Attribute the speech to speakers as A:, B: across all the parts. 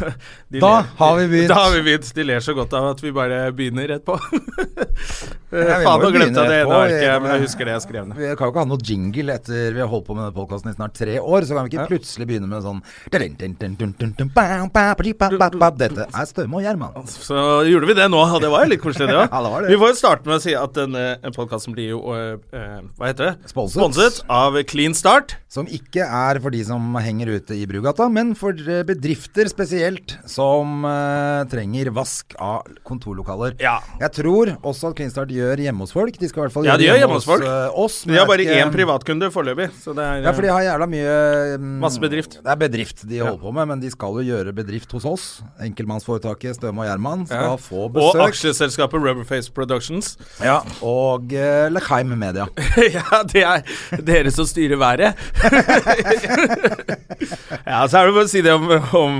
A: De
B: Da
A: ler-
B: har vi begynt.
A: Da har vi begynt. De ler så godt av at vi bare begynner rett på. Eh,
B: vi
A: Faen,
B: må jo
A: nå
B: begynne
A: glemte jeg det
B: rett
A: ene
B: på.
A: arket, men jeg husker det jeg skrev ned.
B: Vi kan jo ikke ha noe jingle etter vi har holdt på med denne podkasten i snart tre år. Så kan vi ikke plutselig begynne med sånn Dette er Støme og Gjerman.
A: Så gjorde vi det nå, og det var jo litt koselig, det òg.
B: Ja, det var det.
A: Vi får jo starte med å si at denne podkasten blir jo eh, eh, Hva heter det?
B: Sponset.
A: av Clean Start.
B: Som ikke er for de som henger ute i Brugata, men for eh, bedrifter spesielt som eh, trenger vask av kontorlokaler.
A: Ja.
B: Jeg tror også at CleanStart gjør hjemme hos folk. De skal i hvert fall
A: Ja,
B: gjøre
A: de gjør hjemme hos folk.
B: eh, oss. men
A: Vi har
B: det
A: bare
B: er ikke-
A: én privatkunde foreløpig, så det er eh,
B: Ja, for de har jævla mye mm,
A: Masse bedrift.
B: Det er bedrift de holder på med, men de skal jo gjøre bedrift hos oss. Enkeltmannsforetaket Støme og Gjerman skal
A: Ja.
B: få
A: Og
B: besøk.
A: aksjeselskapet Rubberface Productions.
B: Ja, og uh, Lechaim Media.
A: ja, det er dere som styrer været. ja, så er det bare å si det om, om,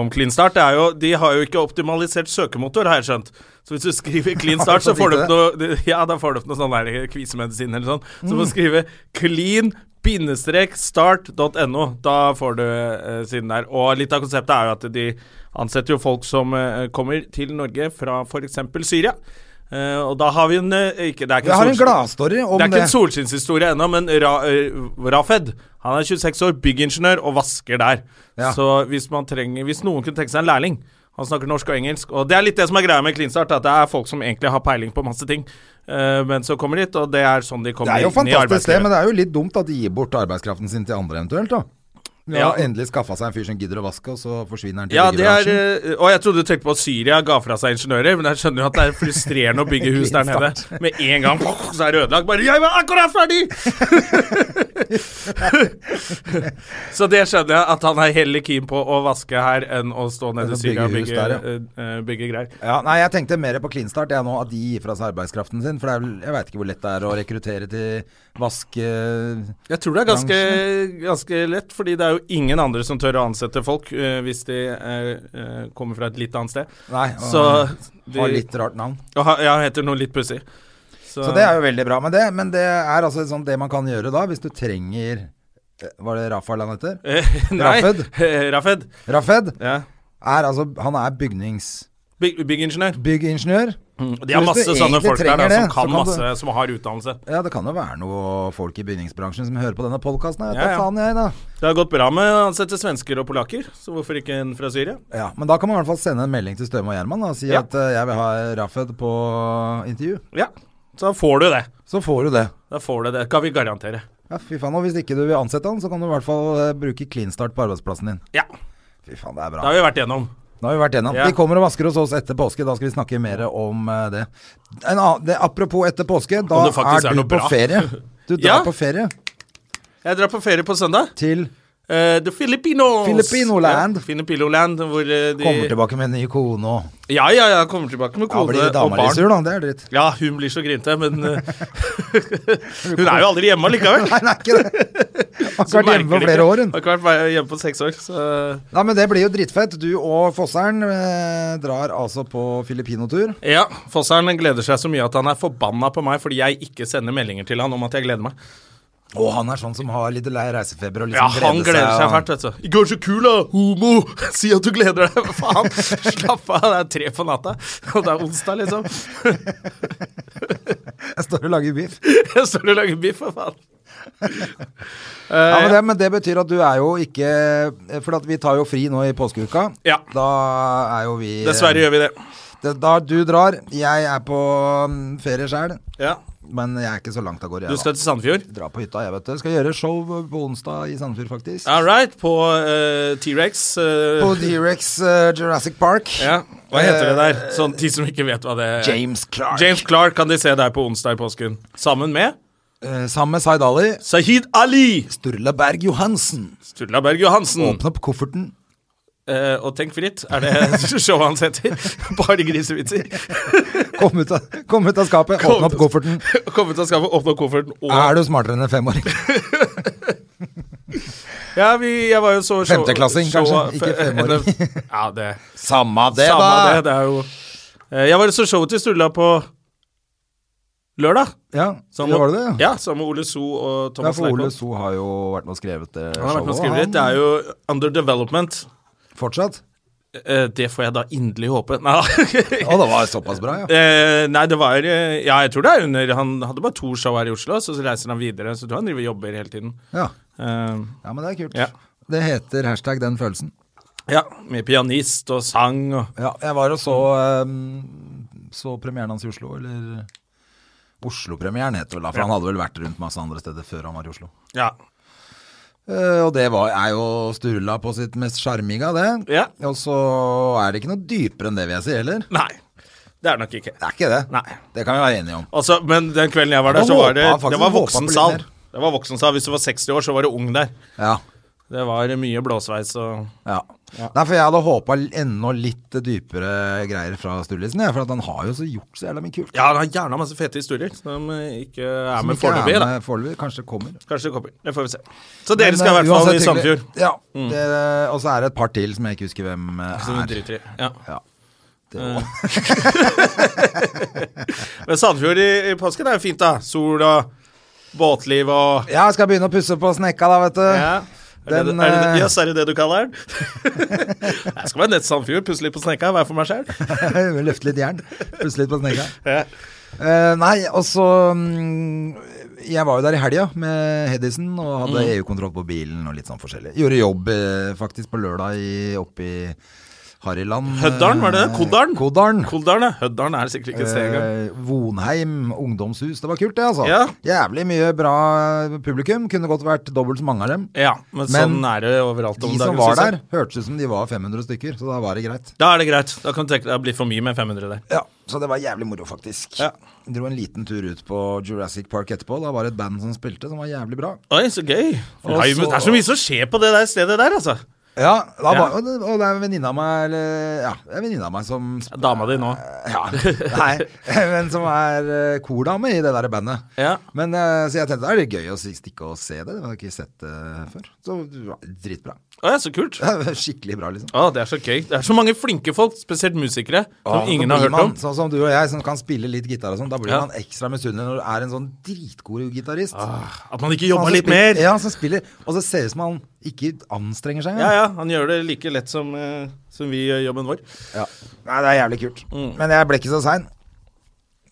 A: om Clean Start. Det er jo, de har jo ikke optimalisert søkemotor, har jeg skjønt. Så hvis du skriver Clean Start, så får du opp noe Ja, da får du opp noe sånn der kvisemedisin eller sånn. Så må du skrive clean bindestrek start.no. Da får du eh, siden der. Og litt av konseptet er jo at de ansetter jo folk som eh, kommer til Norge fra f.eks. Syria. Eh, og da har vi en eh, ikke, Det er ikke
B: Jeg har en
A: solskin-
B: gladstory om
A: det er ikke
B: det.
A: en solskinnshistorie ennå, men Ra eh, Rafed han er 26 år, byggingeniør og vasker der.
B: Ja.
A: Så hvis, man trenger, hvis noen kunne tenke seg en lærling Han snakker norsk og engelsk, og det er litt det som er greia med Klinstart, at det er folk som egentlig har peiling på masse ting, eh, men så kommer de hit, og det er sånn de
B: Det
A: kommer
B: er jo
A: inn i
B: fantastisk sted,
A: arbeidslivet.
B: men det er jo litt dumt at de gir bort arbeidskraften sin til andre eventuelt, da. Ja,
A: Ja.
B: endelig skaffa seg en fyr som gidder å vaske, og så forsvinner han til
A: Ja, det er,
B: byggebransjen.
A: eh, og jeg trodde du tenkte på at Syria ga fra seg ingeniører, men jeg skjønner jo at det er frustrerende å bygge hus der nede. Med en gang så er det ødelagt. Bare 'Jeg var akkurat ferdig!' så det skjønner jeg, at han er heller keen på å vaske her enn å stå nede i Syria og
B: Bygge hus
A: bygge,
B: der,
A: eh, eh, bygge greier.
B: Ja, nei, jeg tenkte mer på Cleanstart jeg nå, at de gir fra seg arbeidskraften sin. For det er vel, jeg veit ikke hvor lett det er å rekruttere til vaske...
A: Jeg tror det er ganske, ganske lett, fordi det er jo ingen andre som tør å ansette folk eh, hvis de eh, eh, kommer fra et litt annet sted.
B: Nei, og
A: Så de,
B: har litt rart navn.
A: og ha- Ja, heter noe litt pussig.
B: Så det er jo veldig bra. Men det, men det er altså sånn det man kan gjøre da, hvis du trenger eh, Var det Rafael han heter?
A: Eh, Nei,
B: Rafed?
A: Eh, Rafed.
B: Rafed
A: Ja.
B: er altså Han er bygnings...
A: Byg- Byggingeniør.
B: Byggingeniør.
A: De har
B: Mm. Hvis du
A: masse sånne
B: egentlig
A: folk der da,
B: trenger
A: som
B: det,
A: kan,
B: så kan du-
A: masse, som har utdannelse.
B: Ja, det kan jo være noe folk i bygningsbransjen som hører på denne podkasten.
A: Ja, ja.
B: faen jeg, da.
A: Det har gått bra med å ansette svensker og polakker, så hvorfor ikke en fra Syria?
B: Ja, men da kan man i hvert fall sende en melding til Støme og Gjerman da, og si
A: Ja.
B: at eh, jeg vil ha Rafed på intervju.
A: Ja, så da får du det.
B: Så får du det.
A: Da får du det, kan vi garantere.
B: Ja, fy faen, Og hvis ikke du vil ansette han, så kan du i hvert fall eh, bruke cleanstart på arbeidsplassen din.
A: Ja,
B: Fy faen, det er
A: det har
B: bra.
A: vi vært igjennom.
B: Da har vi vært gjennom.
A: Ja.
B: De kommer og vasker hos oss etter påske. Da skal vi snakke mer om eh, det. En annen, det. Apropos etter påske, da
A: Om det
B: er
A: faktisk er
B: du
A: noe
B: på
A: bra.
B: ferie. Du drar
A: Ja.
B: på ferie
A: Jeg drar på ferie på søndag.
B: til
A: Eh, the Filipinos!
B: Filipinoland.
A: Ja, Filipinoland, hvor eh, de
B: Kommer tilbake med en ny kone og
A: Ja, ja, ja, kommer tilbake med
B: Ja,
A: kone
B: blir
A: og
B: dama litt
A: barn.
B: sur, da? Det er dritt.
A: Ja, hun blir så grinte, men eh, Hun er jo aldri hjemme allikevel.
B: Nei, det er ikke det. Har ikke vært hjemme på flere år, hun.
A: Har ikke vært hjemme på seks år, så
B: Nei, men det blir jo drittfett. Du og Fossern eh, drar altså på filippinotur.
A: Ja, Fossern gleder seg så mye at han er forbanna på meg fordi jeg ikke sender meldinger til han om at jeg gleder meg. Liksom
B: Og han er sånn som har litt lei reisefeber og
A: Ja,
B: liksom
A: Han gleder seg
B: og-
A: fælt, vet du. 'I går så kul, da! Homo! Si at du gleder deg!' Hva faen? Slapp av, det er tre på natta, og det er onsdag, liksom.
B: Jeg står og lager biff.
A: Jeg står og lager biff, for faen.
B: Ja,
A: Eh,
B: men, det, men det betyr at du er jo ikke eh, For at vi tar jo fri nå i påskeuka.
A: Ja.
B: Da er jo vi
A: Eh,
B: eh,
A: Dessverre gjør vi det.
B: det, Da du drar. Jeg er på mm, ferie sjæl,
A: Ja.
B: men jeg er ikke så langt av gårde.
A: Du
B: Jeg
A: skal
B: da.
A: til Sandfjord?
B: Dra på hytta, jeg, vet du. Skal gjøre show på onsdag i Sandefjord, faktisk.
A: All right, på eh, T-rex. eh,
B: På T-rex eh, Jurassic Park.
A: ja. Hva heter det der?
B: Eh,
A: Sånn de som ikke vet hva det er.
B: James Clark.
A: James Clark kan de se deg på onsdag i påsken. Sammen med
B: Eh, sammen med Zaid Ali.
A: Sahid Ali!
B: Sturla Berg Johansen.
A: Sturla Berg Johansen.
B: Åpne opp kofferten.
A: eh, og tenk fritt, er det showet hans heter. Bare grisevitser.
B: Kom ut av, kom ut av skapet,
A: Kom-
B: åpne opp kofferten.
A: Komme til skapet, åpne opp kofferten og
B: Er du smartere enn en femåring?
A: Ja, vi, jeg var jo så show-
B: Femteklassing, kanskje,
A: show-
B: ikke femåring.
A: henne- Ja, det
B: Samme det,
A: Samme
B: da!
A: det, det er jo Eh, Jeg var i så showet til Sturla på lørdag.
B: Ja, det
A: Sammen med-
B: var det det. Ja.
A: Ja, sammen med Ole So og
B: Ja,
A: Thomas
B: for Ole
A: Leikvoll.
B: So har jo vært med og skrevet det
A: Han har vært med og
B: showet,
A: skrevet litt. Det er jo under development.
B: Fortsatt?
A: Eh, Det får jeg da inderlig håpe. Nei,
B: Å, det var såpass bra, ja.
A: Eh, nei, det var eh, Ja, jeg tror det er under Han hadde bare to show her i Oslo, så reiser han videre. Så jeg tror han driver og jobber hele tiden.
B: Ja,
A: Eh,
B: ja men det er kult.
A: Ja.
B: Det heter hashtag den følelsen.
A: ja, med pianist og sang og
B: Ja, jeg var og så, ehm, så premieren hans i Oslo, eller eh, Oslo-premieren heter vel da, for han hadde vel vært rundt masse andre steder før han var i Oslo.
A: Ja.
B: Eh, og det var, er jo Sturla på sitt mest sjarmiga, det.
A: Ja.
B: Og så er det ikke noe dypere enn det, vil jeg si, heller.
A: Nei. Det er nok ikke.
B: Det er ikke det.
A: Nei.
B: Det kan vi være enige om.
A: Altså, men den kvelden jeg var der,
B: Jeg
A: så var det,
B: håpa faktisk-
A: det
B: jeg
A: var
B: håpa på litt
A: voksensal.
B: mer.
A: Det var voksensal. Hvis du var 60 år, så var du ung der.
B: Ja.
A: Det var mye blåsveis og
B: Ja. Nei, for jeg hadde håpa enda litt dypere greier fra Sturlisen, jeg. For at han har jo så gjort så jævla mye kult.
A: Ja, han har gjerne masse fete historier som eh, ikke er
B: Som
A: med
B: ikke er
A: foreløpig. da.
B: med foreløpig. Kanskje det kommer.
A: Kanskje det kommer. Det får vi se. Så dere
B: Men,
A: skal i
B: eh,
A: hvert fall
B: uansett
A: i Mm.
B: hyggelig.
A: Sandfjord.
B: Ja. Det, og så er det et par til som jeg ikke husker hvem eh,
A: Så vi
B: er.
A: driter i- Ja.
B: Ja. Det,
A: Men Sandfjord i, i påsken er jo fint, da. Sol og båtliv og
B: ja, jeg skal begynne å pusse på snekka da, vet du.
A: ja. Er det,
B: Den,
A: det- er det,
B: eh,
A: yes, er det det du kaller den? Jeg skal være nett Sandfjord, pusse litt på snekka, være for meg sjøl.
B: Løfte litt jern. Pusse litt på snekka. Eh, nei, og så mm, Jeg var jo der i helga med Hedison og hadde
A: Mm.
B: EU-kontroll på bilen og litt sånn forskjellig. Gjorde jobb eh, faktisk på lørdag i, oppe i Harryland.
A: Høddalen, var det det?
B: eh,
A: Kodalen?
B: Kodalen.
A: Koldalen, ja. Høddalen er sikkert ikke et sted engang.
B: Eh, Vonheim ungdomshus. Det var kult, det, altså.
A: Ja.
B: Jævlig mye bra publikum. Kunne godt vært dobbelt så mange av dem.
A: Ja,
B: Eh,
A: men,
B: men
A: sånn er det overalt
B: De
A: om
B: som
A: dagen.
B: var
A: synes jeg.
B: der, hørtes ut som de var 500 stykker, så da var det greit.
A: Da er det greit. Da kan du tenke deg det blir for mye med 500 der.
B: Ja, Så det var jævlig moro, faktisk.
A: Ja.
B: Dro en liten tur ut på Jurassic Park etterpå. Da var det et band som spilte, som var jævlig bra.
A: Oi, så gøy.
B: Og
A: Nei,
B: så-
A: men det er så mye som skjer på det der stedet der, altså.
B: Ja, da
A: Ja.
B: Var, og det- og det er en venninne av meg eller, Ja, det er en venninne av meg som
A: Ja, Dama di nå.
B: Ja, nei, men som er eh, kordame i det der bandet.
A: Ja.
B: Men, eh, så jeg tenkte det er litt gøy å si- stikke og se det. Jeg har ikke sett det før. Så det var dritbra.
A: Å ja, så kult.
B: Skikkelig bra, liksom.
A: Å, det er så gøy. Det er så mange flinke folk, spesielt musikere, som
B: Ja,
A: ingen
B: så
A: har
B: blir
A: hørt
B: man,
A: om.
B: Sånn som du og jeg, som kan spille litt gitar og sånn. Da blir
A: Ja. Ah.
B: man ekstra misunnelig når du er en sånn dritgod gitarist.
A: At man ikke
B: Han
A: jobber
B: som
A: litt
B: spiller-
A: mer.
B: Ja, som spiller. Og så ser det ut som han ikke anstrenger seg.
A: Ja, ja. Han gjør det like lett som, eh, som vi gjør jobben vår.
B: Ja. Nei, det er jævlig kult. Men jeg ble ikke så sein.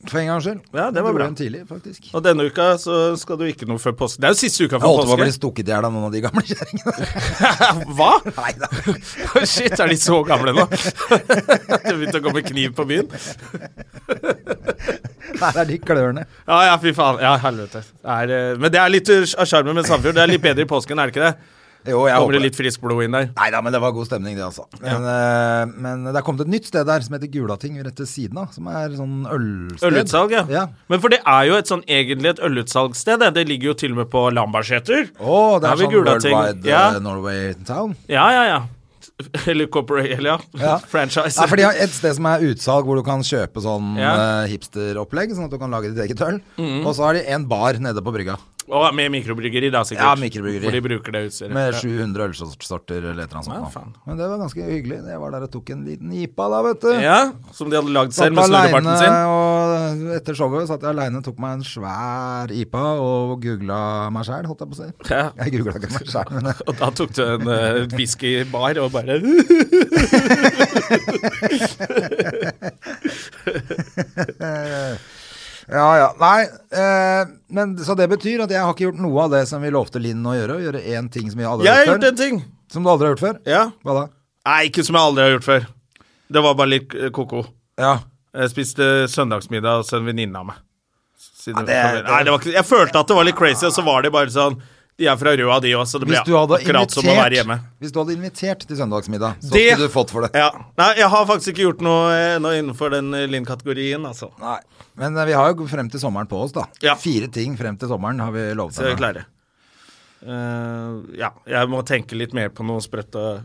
B: For en gangs skyld.
A: Mm. Ja, det var
B: Jeg dro
A: bra.
B: hjem tidlig, faktisk.
A: Og denne uka så skal du ikke noe før påske. Det er jo siste uka
B: Jeg
A: før
B: holdt på å bli
A: påske.
B: stukket i hjel av noen av de gamle kjerringene.
A: Hva?
B: Nei da.
A: Shit, er de så gamle nå? Det begynte å gå med kniv på byen.
B: Nei, det er de klørne.
A: Ja, ja, fy faen. Ja, helvete. Det er, eh, men det er litt eh, av sjarmen med Sandfjord. Det er litt bedre i påsken, er det ikke det?
B: Jo, jeg
A: Kommer det
B: håper det.
A: litt friskt blod inn der?
B: Nei da, men det var god stemning, det, altså. Men, eh, men det er kommet et nytt sted der som heter Gulating, rett ved siden av. Som er sånn ølsted.
A: Ølutsalg, ja.
B: ja.
A: Men for det er jo et sånn egentlig et ølutsalgssted. det. Det ligger jo til og med på Lambertseter.
B: Å, det er
A: Ja, ved
B: sånn
A: Gulating.
B: Worldwide
A: Ja.
B: eh, Norway Town.
A: Ja, ja, ja. Eller corporate, eller ja.
B: Ja.
A: Franchise.
B: Nei, for de har et sted som er utsalg hvor du kan kjøpe sånn
A: Ja. Mm.
B: eh, hipsteropplegg, sånn at du kan lage ditt eget øl. Og så har de en bar nede på brygga
A: Og med mikrobryggeri, da, sikkert.
B: Ja, mikrobryggeri.
A: Hvor de bruker det utstyret.
B: med
A: Ja.
B: 700 ølsorter eller et eller annet
A: faen.
B: sånt. da. Men det var ganske hyggelig. Jeg var der og tok en liten jipa da, vet du.
A: Ja, som de hadde lagd
B: Satt
A: selv med snurrebarten
B: alene,
A: sin.
B: og etter showet satt jeg aleine, tok meg en svær IPA og googla meg sjæl, holdt jeg på å si.
A: Ja.
B: Jeg googla ikke meg sjæl, men
A: Og da tok du en eh, whiskybar og bare
B: Ja, ja. Nei, eh, men så det betyr at jeg har ikke gjort noe av det som vi lovte Linn å gjøre. Å gjøre én ting som vi aldri
A: Jeg
B: har
A: har
B: gjort
A: gjort
B: før.
A: en ting!
B: Som du aldri har gjort før?
A: Ja.
B: Hva da?
A: Nei, ikke som jeg aldri har gjort før. Det var bare litt eh, ko-ko.
B: Ja.
A: Jeg spiste søndagsmiddag hos en venninne av meg.
B: Ja,
A: Siden,
B: det-
A: Nei, det var ikke, jeg følte at det var litt crazy, og så var det bare sånn De er fra Røa, de òg, så det ble
B: Hvis du hadde
A: akkurat som å være hjemme.
B: invitert, hvis du hadde invitert til søndagsmiddag, så
A: Det-
B: skulle du fått for det.
A: Ja. Nei, jeg har faktisk ikke gjort noe eh, ennå innenfor den eh, Linn-kategorien, altså.
B: Nei. Men eh, vi har jo frem til sommeren på oss, da.
A: Ja.
B: Fire ting frem til sommeren har vi lovet
A: Så jeg
B: henne.
A: klarer. eh, ja, jeg må tenke litt mer på noe sprøtt og,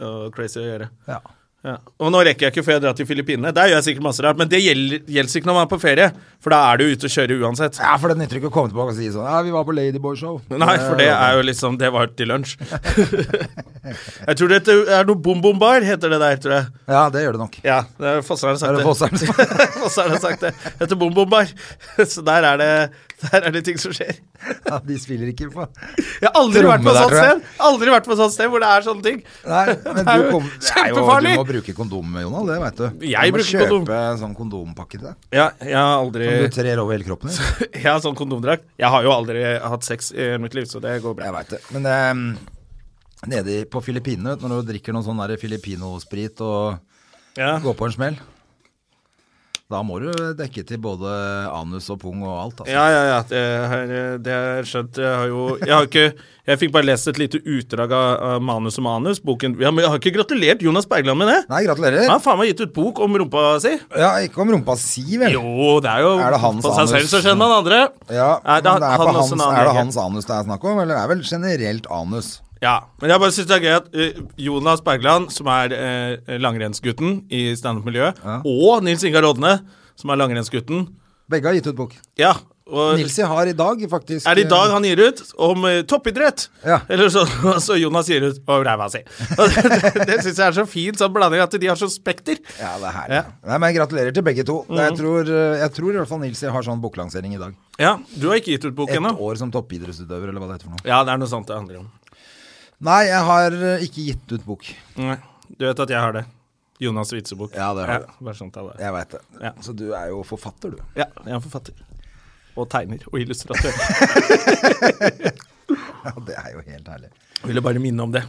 A: og crazy å gjøre.
B: Ja.
A: Ja. Og nå rekker jeg ikke før jeg drar til Filippinene. Der gjør jeg sikkert masse rart, men det gjelder, gjelder ikke når man er på ferie, for da er du ute og kjører uansett.
B: ja, for det nytter ikke å komme tilbake og si sånn Ja, vi var på Ladyboy-show.
A: Nei, for det er jo liksom Det var til lunsj. jeg tror det er noe bom-bom-bar, heter det der, tror jeg.
B: Ja, det gjør det nok.
A: Ja, det er Fosseren har
B: Er det
A: sagt
B: Fosseren
A: det.
B: som
A: Fosseren har sagt det. Heter bom-bom-bar. Så der er, det, der er det ting som skjer.
B: ja, De spiller ikke på
A: Jeg har aldri vært på
B: Tromme
A: et
B: der,
A: sånt
B: tror jeg.
A: sted Aldri vært på et sånt sted hvor det er sånne ting.
B: Nei, men
A: Det er
B: du
A: jo
B: kom, det er jo-
A: kjempefarlig.
B: Du må bruke kondom, Jonald. Det veit du.
A: Jeg
B: du må
A: bruker kondom. Eh.
B: Kjøpe sånn kondompakke til deg.
A: Ja, jeg har aldri
B: Som du trer over hele kroppen din.
A: Jeg har sånn kondomdrakt. Jeg har jo aldri hatt sex i hele mitt liv, så det går bra.
B: Jeg veit det. Men ehm, nede i- på Filippinene, vet du, når du drikker noe sånn der filippinosprit og
A: Ja.
B: går på en smell Da må du dekke til både anus og pung og alt, altså.
A: Ja, ja, ja. Det har, det har jeg skjønt. Jeg har jo Jeg har ikke Jeg fikk bare lest et lite utdrag av, av Manus og manus, boken ja, Men jeg har ikke gratulert Jonas Bergland med det.
B: Nei, gratulerer.
A: Han har faen meg gitt ut bok om rumpa si.
B: Ja, ikke om rumpa si, vel.
A: Jo, det er jo
B: Er det hans
A: På seg selv
B: anus?
A: så skjønner man andre.
B: Ja,
A: Er det
B: men det er,
A: han
B: på
A: også
B: hans,
A: en annen
B: er det
A: lege?
B: hans anus det er snakk om, eller det er vel generelt anus?
A: Ja. Men jeg bare syns det er gøy at eh, Jonas Bergland, som er eh, langrennsgutten i standup-miljøet, og Nils Ingar Odne, som er langrennsgutten
B: Begge har gitt ut bok.
A: Ja. Og
B: Nilsi har i dag faktisk
A: Øh. er det i dag han gir ut om eh, toppidrett?
B: eh, Ja.
A: Eller så, så Jonas gir ut om ræva si. Og Det, det, det syns jeg er så fint sånn blanding at de har så spekter.
B: øh, Ja, det er herlig.
A: Ja. Mm.
B: Nei, men jeg gratulerer til begge to. jeg, tror, eh, jeg tror i hvert fall Nilsi har sånn boklansering i dag.
A: Ja, du har ikke gitt ut bok
B: Et
A: ennå.
B: år som toppidrettsutøver, eller hva det heter for noe.
A: Ja, det er noe sånt det handler om.
B: Nei, jeg har eh, ikke gitt ut bok.
A: Nei, Du vet at jeg har det. Jonas' vitsebok.
B: Ja, det har du.
A: Bare sånn at det er.
B: Jeg veit det.
A: Ja.
B: Så du er jo forfatter, du.
A: Ja, jeg er forfatter. Og tegner og illustratør.
B: Ja, det er jo helt herlig.
A: Ville bare minne om det.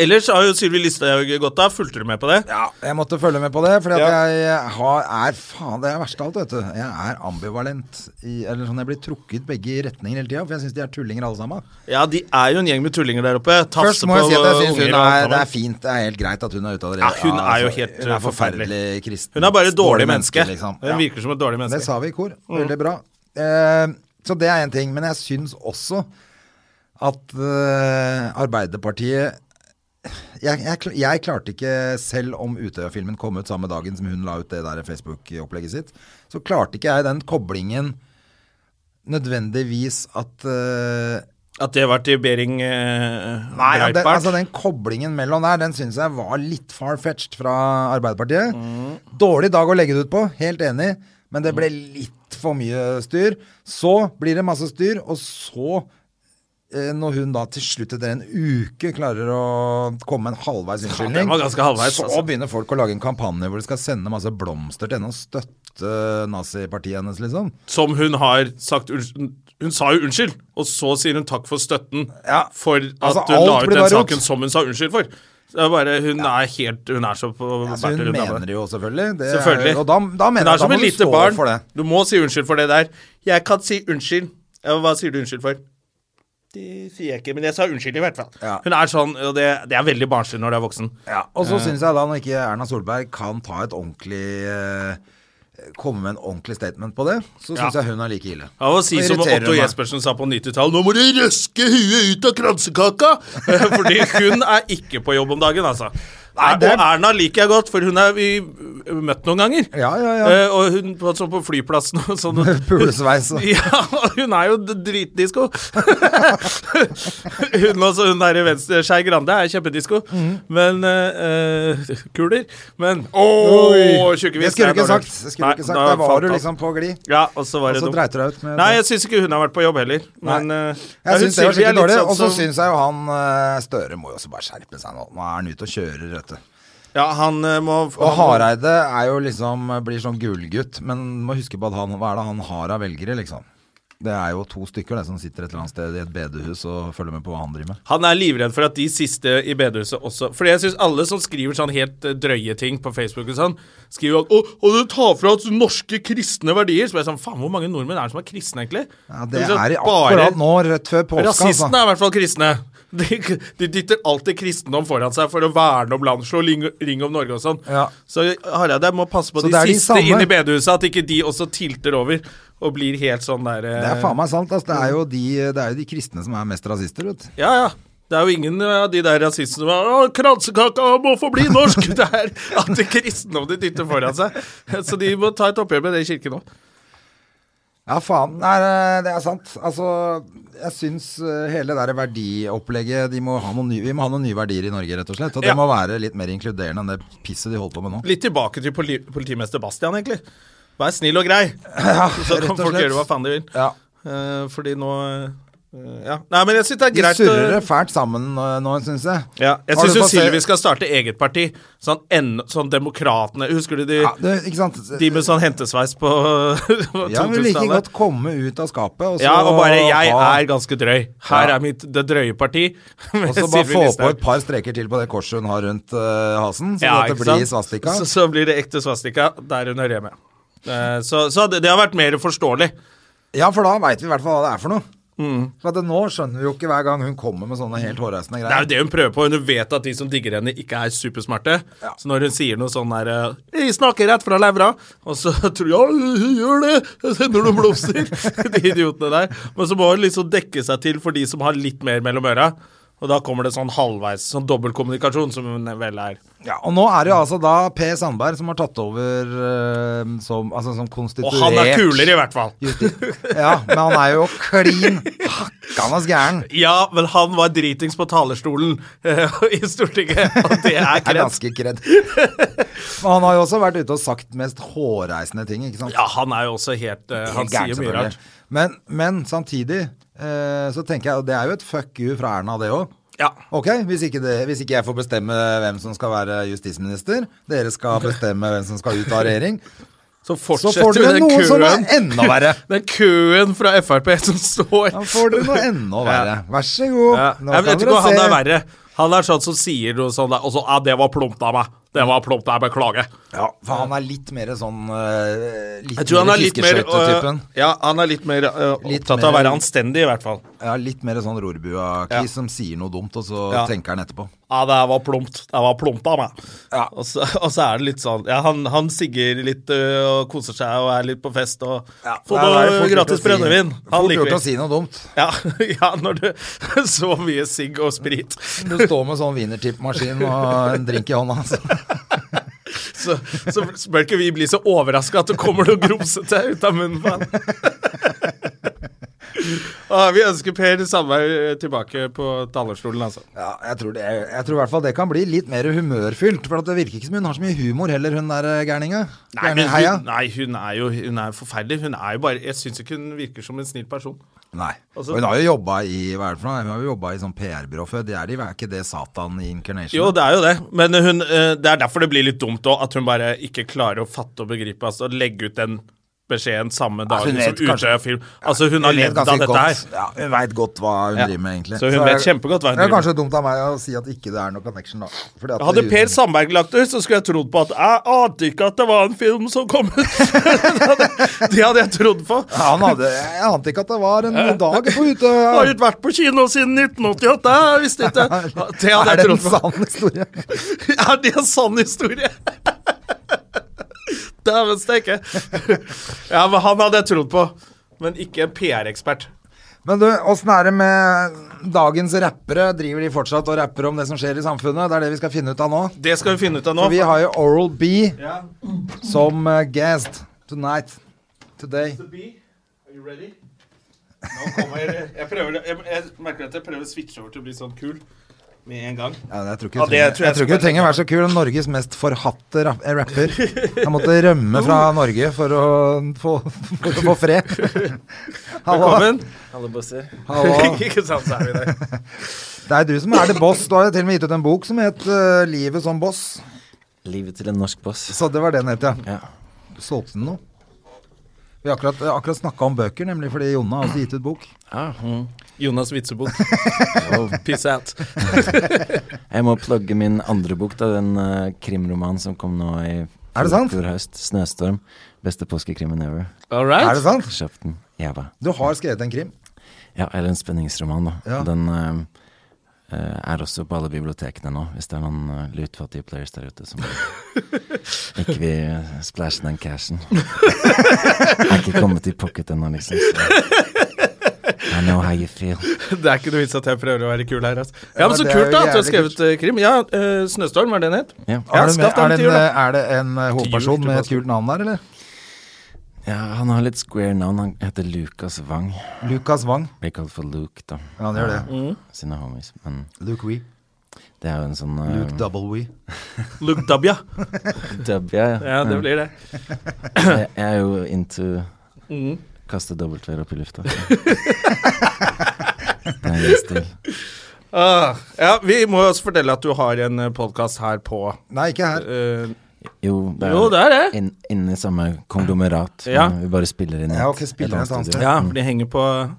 A: Ellers har jo Sylvi Listhaug gått av. Fulgte du med på det?
B: Ja, jeg måtte følge med på det, fordi at
A: Ja.
B: jeg har, er faen det er verst av alt, vet du. Jeg er ambivalent. I, eller sånn, jeg blir trukket begge retninger hele tida, for jeg syns de er tullinger alle sammen.
A: Ja, de er jo en gjeng med tullinger der oppe. Tafse
B: Først må
A: på
B: jeg si at jeg syns
A: unger
B: hun
A: og
B: er
A: alt
B: Det er
A: sammen.
B: fint, det er helt greit at hun er ute av det. altså,
A: Ja, hun er jo helt,
B: Hun
A: uh,
B: er forferdelig kristen.
A: Hun er bare et dårlig menneske.
B: liksom.
A: Hun
B: Ja.
A: virker som et dårlig
B: Det
A: menneske.
B: sa vi i kor. Veldig bra. Eh, så det er én ting. Men jeg syns også at eh, Arbeiderpartiet jeg, jeg, kl- jeg klarte ikke, selv om Utøya-filmen kom ut samme dagen som hun la ut det der Facebook-opplegget sitt, så klarte ikke jeg den koblingen nødvendigvis at eh,
A: At det var til Behring eh,
B: Nei, ja, den,
A: Breitbart.
B: altså den koblingen mellom der, den syns jeg var litt far-fetched fra Arbeiderpartiet. Dårlig dag å legge det ut på, helt enig, men det ble litt for mye styr. Så blir det masse styr, og så, eh, når hun da til slutt etter en uke klarer å komme med en halvveis
A: Ja, den
B: unnskyldning,
A: var ganske halvveis,
B: så
A: altså.
B: begynner folk å lage en kampanje hvor de skal sende masse blomster til henne og støtte nazipartiet hennes, liksom.
A: Som hun har sagt unnskyld Hun sa jo unnskyld, og så sier hun takk for støtten
B: Ja,
A: for at
B: altså,
A: hun la
B: alt
A: ut
B: blir
A: den
B: bare rot.
A: saken som hun sa unnskyld for. Så det er bare, hun er helt Hun er så på
B: Altså, hun
A: bærtur, hun er bare-
B: mener jo selvfølgelig. Det er-
A: Selvfølgelig.
B: Eh, og da, da mener
A: Hun er
B: jeg at
A: som
B: da
A: et
B: må du
A: lite
B: stå
A: barn.
B: for det.
A: Du må si unnskyld for det der. Jeg kan si unnskyld. Ja, hva sier du unnskyld for? Det sier jeg ikke, men jeg sa unnskyld i hvert fall.
B: Ja.
A: Hun er sånn, og det, det er veldig barnslig når du er voksen.
B: Ja, og
A: Eh.
B: så syns jeg da, når ikke Erna Solberg kan ta et ordentlig eh, Komme med en ordentlig statement på det, så syns
A: Ja.
B: jeg hun er like ille.
A: Av å si
B: Nå
A: som
B: irriterer
A: Otto
B: hun meg.
A: Jespersen sa på 90-tallet Nå må du røske huet ut av kransekaka! Eh, Fordi hun er ikke på jobb om dagen, altså.
B: Nei, det er-
A: Og Erna liker jeg godt, for hun har vi møtt noen ganger.
B: Ja, ja, ja.
A: Eh, og hun på, sånn på flyplassen og sånn.
B: Pulesveis og
A: Ja, hun er jo d- dritdisko. hun også, hun der i venstre, Skei Grande, er kjempedisko.
B: Mhm.
A: Men eh, eh, Kuler. Men Ååå, tjukke
B: Det
A: vis,
B: skulle du
A: det er
B: ikke
A: dårlig.
B: sagt! Det skulle
A: Nei,
B: du ikke sagt.
A: da
B: Der var
A: falt
B: du
A: alt.
B: liksom på glid.
A: Ja, og så var
B: Og
A: det
B: så
A: dumt.
B: dreit du deg ut med
A: Nei,
B: det.
A: jeg syns ikke hun har vært på jobb heller. Men
B: Nei.
A: eh,
B: Jeg syns det var
A: hun Sylvi er
B: skikkelig
A: litt
B: dårlig. Og
A: sånn
B: så
A: som-
B: syns jeg jo han eh, Støre må jo også bare skjerpe seg nå. Nå er han ute og kjører, vet du.
A: Ja, han eh, må
B: Og Hareide er jo liksom blir sånn gullgutt, men må huske på at han Hva er det han har av velgere, liksom? Det er jo to stykker det, som sitter et eller annet sted i et bedehus og følger med på hva han driver med.
A: Han er livredd for at de siste i bedehuset også For jeg syns alle som skriver sånn helt eh, drøye ting på Facebook og sånn, skriver at 'Å, og du tar fra oss norske kristne verdier'. Så er jeg sånn Faen, hvor mange nordmenn er det som er kristne, egentlig?
B: Ja, det
A: Liksom
B: er i
A: bare-
B: akkurat nå, rett før påske. altså.
A: Rasistene er i hvert fall kristne. De, de dytter alltid kristendom foran seg for å verne om land, slå ring, ring om Norge og sånn.
B: Ja.
A: Så Hareide må passe på
B: Så
A: de
B: det er de
A: siste
B: samme-
A: inn i bedehuset, at ikke de også tilter over og blir helt sånn der eh,
B: Det er faen meg sant. Altså, det, er jo de, det er jo de kristne som er mest rasister, vet du.
A: Ja, ja. Det er jo ingen av de der rasistene som er, «Å, 'Kransekaka må forbli norsk!' Det er at kristendommen de dytter foran seg. Så de må ta et oppgjør med det i kirken òg.
B: Ja, faen. Nei, det er sant. Altså, jeg syns eh, hele det der verdiopplegget de må ha noen nye, Vi må ha noen nye verdier i Norge, rett og slett. Og det
A: Ja.
B: må være litt mer inkluderende enn det pisset de holder på med nå.
A: Litt tilbake til poli politimester Bastian, egentlig. Vær snill og grei, så
B: rett
A: kan
B: og
A: folk
B: slett.
A: gjøre hva faen de vil.
B: Ja.
A: Eh, fordi nå eh, Ja. Nei, men jeg syns det er
B: De
A: greit å-
B: surrer det fælt sammen eh, nå, syns jeg.
A: Ja, jeg
B: Har
A: syns
B: du
A: jo
B: fått se-
A: Sylvi skal starte eget parti. Sånn, en, sånn Demokratene Husker du de,
B: ja, det, Ikke sant?
A: de med sånn hentesveis på
B: Ja, men like
A: 2000-tallet?
B: godt komme ut av skapet og så
A: Ja, og bare 'jeg
B: ha-
A: er ganske drøy'. Her
B: Ja.
A: er mitt det drøye parti. med
B: Og så bare
A: Sylvi
B: få på
A: Listhaug.
B: et par streker til på det korset hun har rundt eh, hasen, så
A: Ja,
B: at det
A: ikke
B: blir
A: sant?
B: svastika.
A: Så, så blir det ekte svastika der hun hører hjemme. Eh, Så, så det, det har vært mer forståelig.
B: Ja, for da veit vi i hvert fall hva det er for noe.
A: Mm.
B: For at det, nå skjønner vi jo ikke hver gang hun kommer med sånne helt hårreisende
A: Det er jo
B: greier.
A: det hun prøver på. Hun vet at de som digger henne, ikke er supersmarte. Så når hun sier noe sånn der eh, 'Jeg snakker rett fra levra', og så tror jeg 'Ja, hun gjør det', jeg sender noen blomster. de idiotene der. Men så må hun liksom dekke seg til for de som har litt mer mellom øra. Og da kommer det sånn halvveis, sånn dobbeltkommunikasjon, som hun vel er.
B: Ja, og nå er det jo altså da Per Sandberg som har tatt over eh, som, altså, som
A: Og
B: konstituert
A: han er kulere, i hvert fall.
B: Ja, men han er jo klin hakkanas gæren.
A: Ja, men han var dritings på talerstolen eh, i Stortinget, og det er
B: Er
A: kreds.
B: ganske kredd. Men han har jo også vært ute og sagt mest hårreisende ting, ikke sant?
A: Ja, han er jo også helt eh, Han
B: Helt gæren,
A: sier mye
B: selvfølgelig.
A: rart.
B: Men, men samtidig eh, så tenker jeg, og det er jo et fuck you fra Erna det òg.
A: Ja.
B: Ok, hvis ikke, det, hvis ikke jeg får bestemme hvem som skal være justisminister, dere skal bestemme hvem som skal ut av regjering,
A: Så
B: så
A: fortsetter
B: får dere
A: den
B: noe
A: køen.
B: som er enda verre.
A: Den køen fra Frp som står
B: Da får dere noe enda verre. Vær så god.
A: ja.
B: Nå
A: Jeg vet
B: kan
A: ikke hva
B: dere
A: han er
B: se.
A: verre. Han er sånn som sier noe sånn der, og så, ja, 'Det var plumpt av meg. Det var plumpt, jeg beklager'.
B: Ja, for han er litt mer sånn eh, Litt
A: Jeg tror han
B: mer
A: er litt mer
B: fiskeskøytetypen.
A: øh, Ja, han er litt mer øh,
B: Litt
A: opptatt av å
B: mer-
A: være anstendig, i hvert fall.
B: Ja, litt mer sånn rorbua-kis
A: Ja.
B: som sier noe dumt, og så
A: Ja.
B: tenker han etterpå.
A: Ja, det her var plumpt. Det var plumpt av meg.
B: Ja.
A: Og, så, og så er det litt sånn Ja, han, han sigger litt øh, og koser seg og er litt på fest og Får
B: Nei, det er fort
A: noe
B: gjort å
A: gratis
B: si-
A: brennevin. Han
B: Fort
A: liker
B: gjort å
A: vi.
B: si noe dumt.
A: Ja, ja, når du Så mye sigg og sprit,
B: Du står med sånn wienertippmaskin og en drink i hånda. altså. Så.
A: så, så bør ikke vi bli så overraska at det kommer noe grumsete ut av munnen på han. Ah, vi ønsker Per Sandberg øh, tilbake på talerstolen, altså.
B: Ja, jeg tror, det, jeg tror i hvert fall det kan bli litt mer humørfylt. For at det virker ikke som hun har så mye humor heller, hun der eh, gærninga.
A: Nei, men
B: Gærningheia.
A: hun, nei, hun er jo hun er forferdelig. Hun er jo bare Jeg syns ikke hun virker som en snill person.
B: Nei.
A: Altså-
B: Og hun har jo jobba i hva er det for noe? Hun har jo jobba i sånn PR-byrå før. Det er, de, er ikke det Satan i Incarnation?
A: Jo, det er jo det, men hun, eh, det er derfor det blir litt dumt òg, at hun bare ikke klarer å fatte og begripe. Altså, legge ut den beskjeden samme
B: altså, hun
A: dagen som
B: vet kanskje-
A: Utøya Film. Altså, hun har
B: Hun vet
A: levd av
B: ganske
A: dette
B: godt,
A: her.
B: Ja, hun veit godt hva hun
A: Ja.
B: driver med, egentlig.
A: Så hun vet kjempegodt hva hun
B: det er
A: driver
B: Kanskje dumt av meg å si at ikke det er noe connection, da. Fordi at
A: Hadde
B: hun-
A: Per Sandberg lagt det ut, så skulle jeg trodd på at Jeg ante ikke at det var en film som kom ut! det, hadde, det hadde jeg trodd på.
B: Ja, han hadde, Jeg ante ikke at det var en dag på Utøya.
A: Har ikke vært på kino siden 1988, jeg visste ikke. Det hadde
B: Er
A: jeg
B: det en
A: trodd på.
B: sann historie?
A: Er det en sann historie? Dæven steike. Ja, men han hadde jeg trodd på. Men ikke en PR-ekspert.
B: Men du, åssen er det med dagens rappere? Driver de fortsatt og rapper om det som skjer i samfunnet? Det er det vi skal finne ut av nå.
A: Det skal vi finne ut av nå.
B: For vi har jo Oral B
A: Ja.
B: som eh, guest tonight. Today.
A: Nå kommer Jeg, prøver, jeg, jeg merker at jeg prøver å switche over til å bli sånn kul med en gang.
B: Ja, jeg tror ikke
A: Ja,
B: du trenger,
A: det tror jeg
B: jeg tror ikke
A: skal
B: du trenger å være så kul. Norges mest forhatte ra- eh, rapper. Han måtte rømme fra Norge for å få, for å få fred. Hallo.
A: Velkommen.
B: Hallo.
A: ikke sant, så er vi der.
B: Det er du som er the boss. Du har jo til og med gitt ut en bok som het eh, 'Livet som boss'.
C: Livet til en norsk boss.
B: Så det var det den het, ja.
C: Ja.
B: Solgte den noe? Vi har akkurat, eh, akkurat snakka om bøker, nemlig fordi Jonna har også gitt ut bok.
A: Jonas Witzeboe. Piss out.
C: Jeg må plugge min andre bok, da. Den eh, krimromanen som kom nå i
B: Er det sant?
C: fjor høst. 'Snøstorm'. Beste påskekrimmen ever.
A: All
B: Er det
A: right.
B: sant?
C: Kjøpt den jævla.
B: Du har skrevet en krim.
C: Ja, eller en spenningsroman, da.
B: Ja.
C: Den eh, eh, er også på alle bibliotekene nå, hvis det er noen eh, lutfattige players der ute som ikke vil splæsje den cashen. Jeg er ikke kommet i pocket ennå, liksom. Så. I know how you feel.
A: Det er ikke noe vits at jeg prøver å være kul her, altså. Ja, men så
B: det er
A: kult,
B: jo
A: da, at du har
B: jævlig
A: skrevet eh, krim. Ja, eh, 'Snøstorm', var det den het?
C: Ja.
A: Ja,
B: Er det, er
A: skaff den
B: det
A: til
B: en,
A: jul, da.
B: er det en eh, hovedperson med et kult navn der, eller?
C: ja, han har litt square navn. Han heter Lucas Wang.
B: Lukas Wang.
C: Blir kalt for Luke, da.
B: Ja, han gjør det.
C: av Sine homies. Men
B: Luke Wee.
C: det er jo en sånn eh,
B: Luke Double Wee.
A: Luke Dabja.
C: dub, ja, ja.
A: Ja, det blir det.
C: Jeg, jeg er jo into
B: Mm.
C: kaste W-er opp i lufta. Det er min stil.
A: Ah, ja, vi må jo også fortelle at du har en podkast her på
B: Nei, ikke her.
A: eh,
C: Jo, det er
A: Jo, det er det.
C: inn- inni samme konglomerat.
A: Ja.
C: men Vi bare spiller inn i
B: Ja,
C: et-
B: ok, spiller
C: et annet
B: et annet
C: studio.
B: sted.
C: Mm.
A: Ja, for de henger på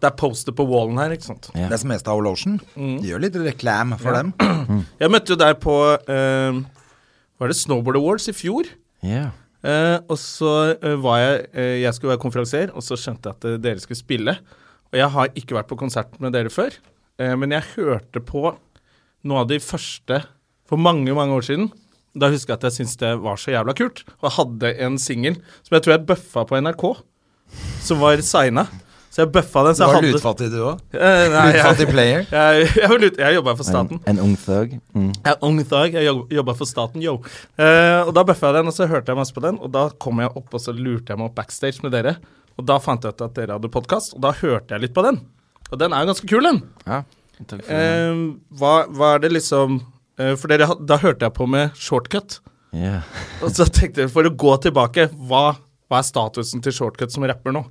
A: Det er poster på wallen her, ikke sant.
C: Ja.
B: Det er som mest av Lotion. Gjør litt reklam for dem.
A: Jeg møtte jo deg på eh, Var det Snowboard Awards i fjor?
C: Ja.
A: Eh, og så eh, var jeg eh, Jeg skulle være konferansier, og så skjønte jeg at eh, dere skulle spille. Og jeg har ikke vært på konsert med dere før, eh, men jeg hørte på noe av de første for mange, mange år siden. Da husker jeg at jeg syntes det var så jævla kult, og jeg hadde en singel som jeg tror jeg bøffa på NRK, som var signa. Så jeg bøffa
B: Du
A: den. Så jeg
B: var
A: hadde
B: lutfattig, du òg.
A: Eh, nei, jeg,
B: Lutfattig player.
A: jeg, jeg, var lut- jeg jobba for staten.
C: En, en ung thug. Mm.
A: Jeg er ung dag, jeg jobb- jobba for staten, yo. Eh, og da bøffa jeg den, og så hørte jeg masse på den. Og da kom jeg opp, og så lurte jeg meg opp backstage med dere. Og da fant jeg ut at dere hadde podkast, og da hørte jeg litt på den. Og den er jo ganske kul, den.
C: Ja. Takk for det.
A: Eh, hva, hva er det liksom eh, For dere, had- da hørte jeg på med shortcut.
C: Ja.
A: Og så tenkte jeg, for å gå tilbake, hva, hva er statusen til shortcut som rapper nå?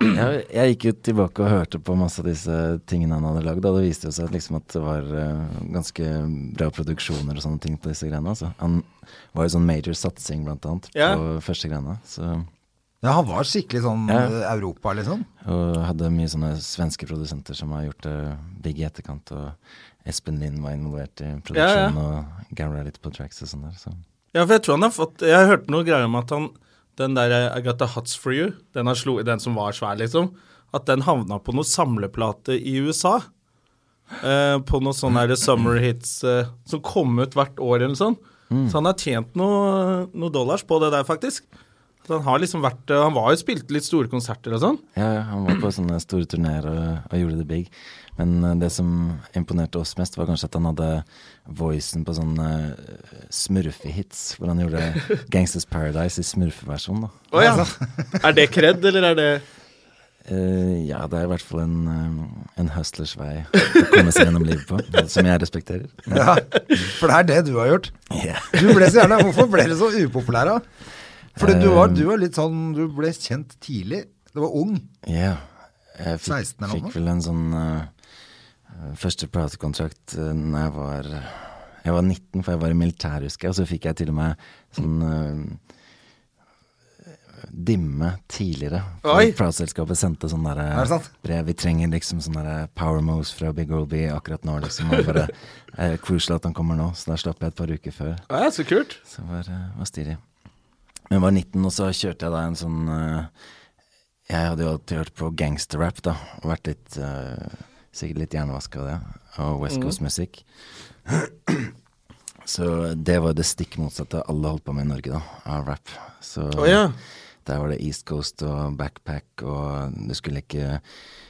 C: Jeg, jeg gikk jo tilbake og hørte på masse av disse tingene han hadde lagd, og det viste jo seg at, liksom at det var eh, ganske bra produksjoner og sånne ting på disse greiene. Altså. Han var jo sånn major satsing, blant annet,
A: Ja.
C: på første greiene. Så,
B: Ja, han var skikkelig sånn
C: Ja.
B: eh, Europa, liksom.
C: og hadde mye sånne svenske produsenter som har gjort det big i etterkant, og Espen Lind var involvert i produksjonen, og Gary er litt på tracks og sånn der. Så.
A: Ja, for jeg tror han har fått Jeg hørte noe greier om at han Den der eh, Agatha Huts for you, den, han slo, den som var svær, liksom, at den havna på noe samleplate i USA. Eh, på noe sånn her summer hits eh, som kom ut hvert år eller sånn. Så han har tjent noe, noe dollars på det der, faktisk. Så han har liksom vært eh, Han var jo spilt litt store konserter og sånn.
C: Ja, ja, han var på sånne store turneer og, og gjorde det big. Men eh, det som imponerte oss mest, var kanskje at han hadde voicen på sånne eh, smurfehits, hvor han gjorde Gangsters Paradise i smurfeversjon. da.
A: Å ja. er det kred, eller er det
C: Eh, ja, det er i hvert fall en, eh, en hustlers vei å komme seg gjennom livet på, som jeg respekterer.
B: Ja. For det er det du har gjort. Du ble så gjerne, Hvorfor ble du så upopulær, da? Fordi du var, du var litt sånn Du ble kjent tidlig. Du var ung.
C: Ja. Jeg
B: 16
C: fikk,
B: eller noe?
C: fikk vel en sånn eh, første platekontrakt uh, når jeg var Jeg var 19, for jeg var i militæret, husker jeg, og så fikk jeg til og med sånn eh, Dimme tidligere. For
A: Oi!
C: Plateselskapet sendte sånn der eh,
B: Er det sant?
C: brev. Vi trenger liksom sånn der power moves fra Big Olby akkurat nå, liksom. Og bare eh, crucial at han kommer nå, så da slapp jeg et par uker før.
A: Å ja, så kult.
C: Så var, eh, var stilig. Men jeg var 19, og så kjørte jeg da en sånn eh, Jeg hadde jo alltid hørt på gangsterrap, da. Og vært litt eh, Sikkert litt hjernevaska av det. Og
A: Mhm.
C: West Coast-musikk. Så det var det stikk motsatte alle holdt på med i Norge, da, av rap. Så
A: Å ja.
C: der var det East Coast og backpack, og du skulle ikke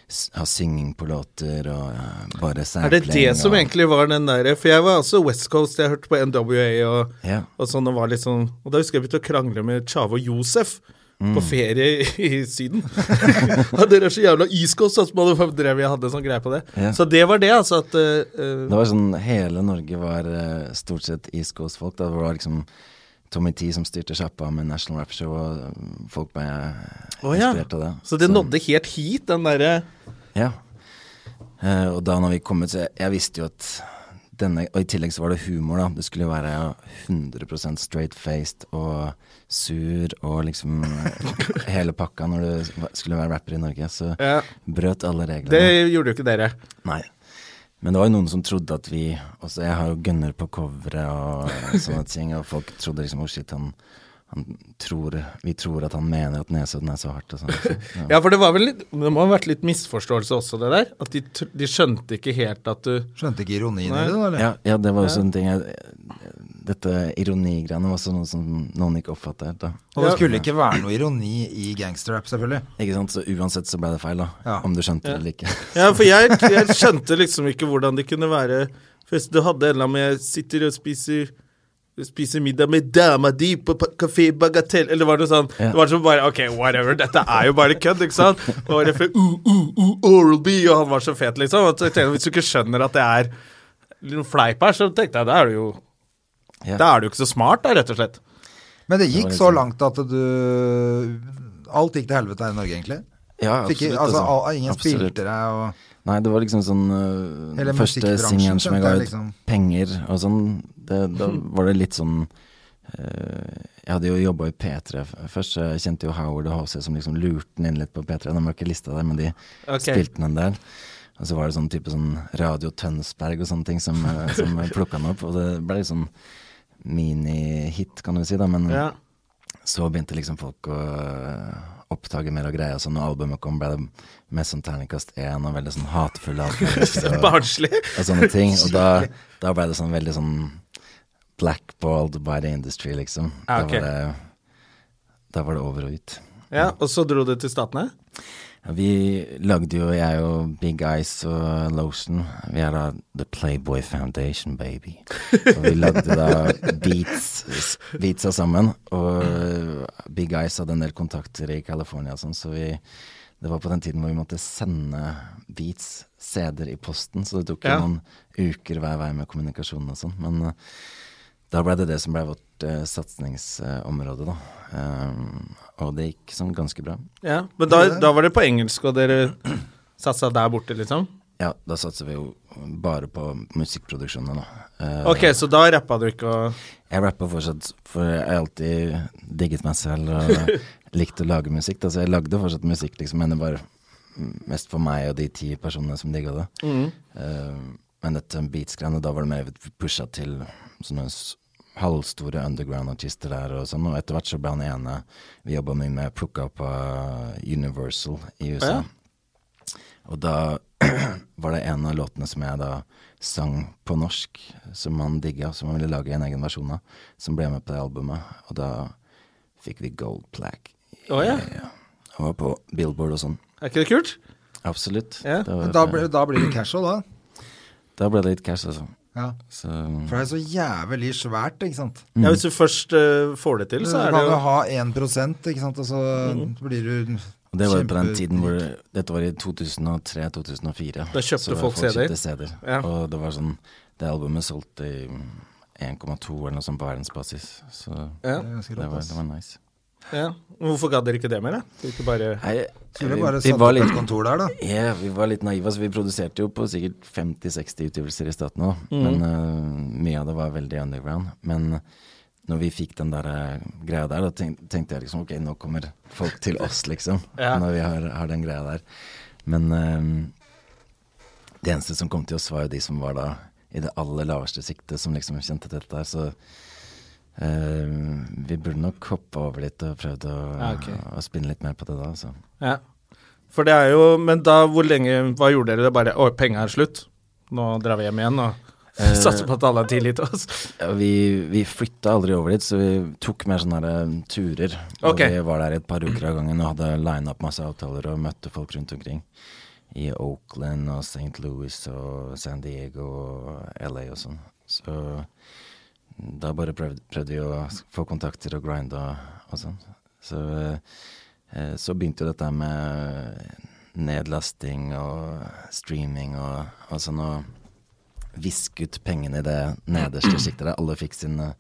C: s ha synging på låter, og eh, bare
A: Er det
C: sampling.
A: det som
C: og,
A: egentlig var den derre For jeg var også West Coast, jeg hørte på NWA og
C: Ja.
A: Og sånn, og var litt sånn Og da husker jeg begynte å krangle med Tjave og Josef
C: Mm.
A: på ferie i, i Syden. ja, dere er så jævla iskos, altså, motherfucker, drev jeg hadde en sånn greie på det.
C: Ja.
A: Så det var det, altså, at eh, eh,
C: Det var sånn, Hele Norge var eh, stort sett East Coast-folk. da. Det var liksom Tommy T som styrte sjappa med National Rap Show, og eh, folk ble eh,
A: Å, ja.
C: inspirert av det.
A: Så det nådde helt hit, den derre
C: Ja. Eh, og da når vi kom ut, så jeg, jeg visste jo at denne Og i tillegg så var det humor, da. Det skulle være 100 straight-faced og sur og liksom eh, hele pakka når du skulle være rapper i Norge. Så
A: Ja.
C: brøt alle reglene.
A: Det gjorde jo ikke dere.
C: Nei. Men det var jo noen som trodde at vi altså også, Jeg har jo gunner på coveret og sånne ting, og folk trodde liksom oh shit, han, han tror, vi tror at han mener at Nesodden er så hardt. Og sånn. Så, ja.
A: Ja, for det var vel litt Det må ha vært litt misforståelse også, det der. At de, tr- de skjønte ikke helt at du
B: Skjønte ikke ironien
A: Nei.
B: i det, da? eller?
C: Ja, ja, det var også en ting jeg, Dette ironigreiene var også noe som noen ikke oppfatta helt. da.
B: Og det skulle ikke være noe ironi i gangsterrap, selvfølgelig.
C: Ikke sant? Så uansett så ble det feil, da.
B: Ja.
C: Om du skjønte det eller ikke.
A: Ja, for jeg, jeg skjønte liksom ikke hvordan det kunne være For hvis du hadde en eller annen med Jeg sitter og spiser Spiser middag med dama di på pa- Café Bagatell Eller var det noe sånn
C: Ja.
A: Det var som bare Ok, whatever, dette er jo bare kødd, ikke sant? Og refer, uh, uh, uh, Oral-B Og han var så fet, liksom. Og så tenkte jeg, Hvis du ikke skjønner at det er noen fleip her, så tenkte jeg Da er du jo
C: Ja.
A: Da er du ikke så smart, da, rett og slett.
B: Men det gikk
C: Det
B: så
C: var liksom-
B: langt at du Alt gikk til helvete her i Norge, egentlig.
C: Ja,
B: Fikk,
C: absolutt,
B: altså,
C: altså.
B: al- ingen
C: Absolutt.
B: spilte deg og
C: Nei, det var liksom sånn øh,
B: Hele
C: Den første
B: musikkbransjen
C: singelen som jeg ga
B: skjønte
C: ut,
B: jeg liksom.
C: penger og sånn, det, da var det litt sånn øh, Jeg hadde jo jobba i P3 f- først, så jeg kjente jo Howard og HC som liksom lurte den inn litt på P3. De har ikke lista der, men de
A: Ok.
C: spilte den en del. Og så var det sånn type sånn Radio Tønsberg og sånne ting som, øh, som plukka den opp, og det ble litt sånn mini-hit, kan du si, da, men
A: Ja.
C: så begynte liksom folk å øh, oppdage mer av greia. Så når albumet kom, ble det mest sånn terningkast én og veldig sånn hatefulle anmeldelser og,
A: Barnslig.
C: og sånne ting. Og da, da ble det sånn veldig sånn blackballed by the industry, liksom.
A: Ja, ok.
C: Da, var det, da var det over og ut.
A: Ja, og så dro du til Statene?
C: Ja, vi lagde jo, jeg og Big Eyes og Lotion Vi er da The Playboy Foundation, baby. Og vi lagde da beats, beatsa sammen. Og Big Eyes hadde en del kontakter i California og sånn, så vi Det var på den tiden hvor vi måtte sende beats, CD-er, i posten, så det tok jo
A: Ja.
C: noen uker hver vei med kommunikasjonen og sånn. Men eh, da ble det det som ble vårt eh, satsingsområde, da. Ehm, og det gikk sånn ganske bra.
A: Ja, men da, da var det på engelsk, og dere satsa der borte, liksom?
C: Ja, da satser vi jo bare på musikkproduksjonene, da. Eh,
A: Ok, så da rappa du ikke og
C: Jeg rapper fortsatt, for jeg har alltid digget meg selv og likt å lage musikk. Da. Så jeg lagde fortsatt musikk, liksom, men det var mest for meg og de ti personene som digga det.
A: Mm.
C: Eh, men dette beats-greiene, da var det mer pusha til sånne s- halvstore underground-artister der og sånn. Og etter hvert så ble han ene vi jobba mye med, plukka opp av Universal i USA.
A: Ja.
C: Og da var det en av låtene som jeg da sang på norsk, som han digga, som han ville lage en egen versjon av, som ble med på det albumet. Og da fikk vi gold plaque.
A: Å ja.
C: Og var på Billboard og sånn.
A: Er ikke det kult?
C: Absolutt.
A: Ja,
C: Det var-
B: Men da ble, da blir det casual, da.
C: da ble det litt cash, altså.
B: Ja.
C: Så,
B: For det er så jævlig svært, ikke sant.
A: Ja, Hvis du først eh, får det til,
B: Du
A: så er
B: kan
A: det
B: jo
A: jo
B: ha 1 ikke sant, og så
C: Mm.
B: blir du
C: og det var jo på den
B: kjempe-
C: tiden hvor Dette var i 2003-2004.
A: Da kjøpte
C: så
A: folk CD-er.
C: kjøpte CD-er.
A: Ja.
C: Og det var sånn Det albumet solgte i 1,2 eller noe sånt på verdensbasis. Så
A: ja,
B: Ganske
C: det
B: rått,
C: var,
B: ass.
C: det var nice.
A: ja. Hvorfor gadd dere ikke det mer, da? Skal vi ikke bare
C: Nei,
B: Skulle
C: vi-
B: bare
C: vi
B: satt
C: var
B: opp et
C: litt-
B: kontor der, da.
C: Ja, vi var litt naive. Altså, vi produserte jo på sikkert 50-60 utgivelser i staten òg,
A: Mm.
C: men eh, mye av det var veldig underground. Men når vi fikk den der eh, greia der, da tenk, tenkte jeg liksom ok, nå kommer folk til oss, liksom.
A: Ja.
C: Når vi har, har den greia der. Men eh, det eneste som kom til oss, var jo de som var da i det aller laveste siktet, som liksom kjente til dette der. Så eh, vi burde nok hoppe over litt og prøvd å,
A: Ja, ok.
C: å spinne litt mer på det da, altså.
A: Ja. For det er jo Men da, hvor lenge Hva gjorde dere? Det er bare Å, penga er slutt. Nå drar vi hjem igjen og satser på at alle har tillit til oss.
C: Ja, vi, vi flytta aldri over dit, så vi tok mer sånne her, um, turer. Og
A: Ok.
C: Vi var der i et par uker av gangen og hadde lina opp masse avtaler og møtte folk rundt omkring. I Oakland og St. Louis og San Diego og LA og sånn. Så da bare prøvde, prøvde vi å s- få kontakter og grinde og, og sånn. Så, eh, så begynte jo dette med nedlasting og streaming og, og sånn. og viske ut pengene i det nederste sjiktet der. Alle fikk sine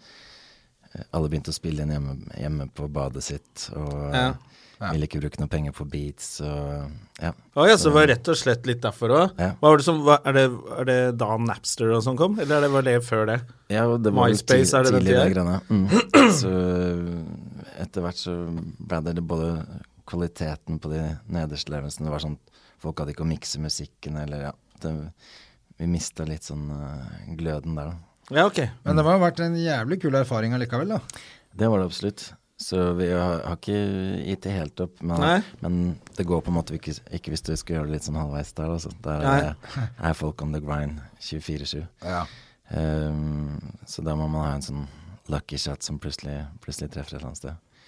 C: Alle begynte å spille inn hjemme, hjemme på badet sitt og eh,
A: Ja.
C: ville ikke bruke noe penger på beats og ja.
A: Å ja, så det var rett og slett litt derfor òg.
C: Ja.
A: Hva var det som hva, er, det, er det da Napster og sånn kom, eller er det, var det før det?
C: Ja, og det var jo
A: MySpace,
C: ti-
A: er det den
C: tidlig
A: tida?
C: de greiene. Mm. Så etter hvert så ble det både kvaliteten på de nederste levelsene Det var sånn folk hadde ikke å mikse musikken eller ja. Det, vi mista litt sånn eh, gløden der, da.
A: Ja, ok.
B: Men det må ha vært en jævlig kul erfaring allikevel, da.
C: Det var det absolutt. Så vi har, har ikke gitt det helt opp. Men,
A: Nei.
C: men det går på en måte ikke, ikke hvis du skal gjøre det litt sånn halvveis der. Altså. Der
A: Nei.
C: eh, er folk on the grind 24-7.
B: Ja.
C: Ehm, så da må man ha en sånn lucky shot som plutselig, plutselig treffer et eller annet sted.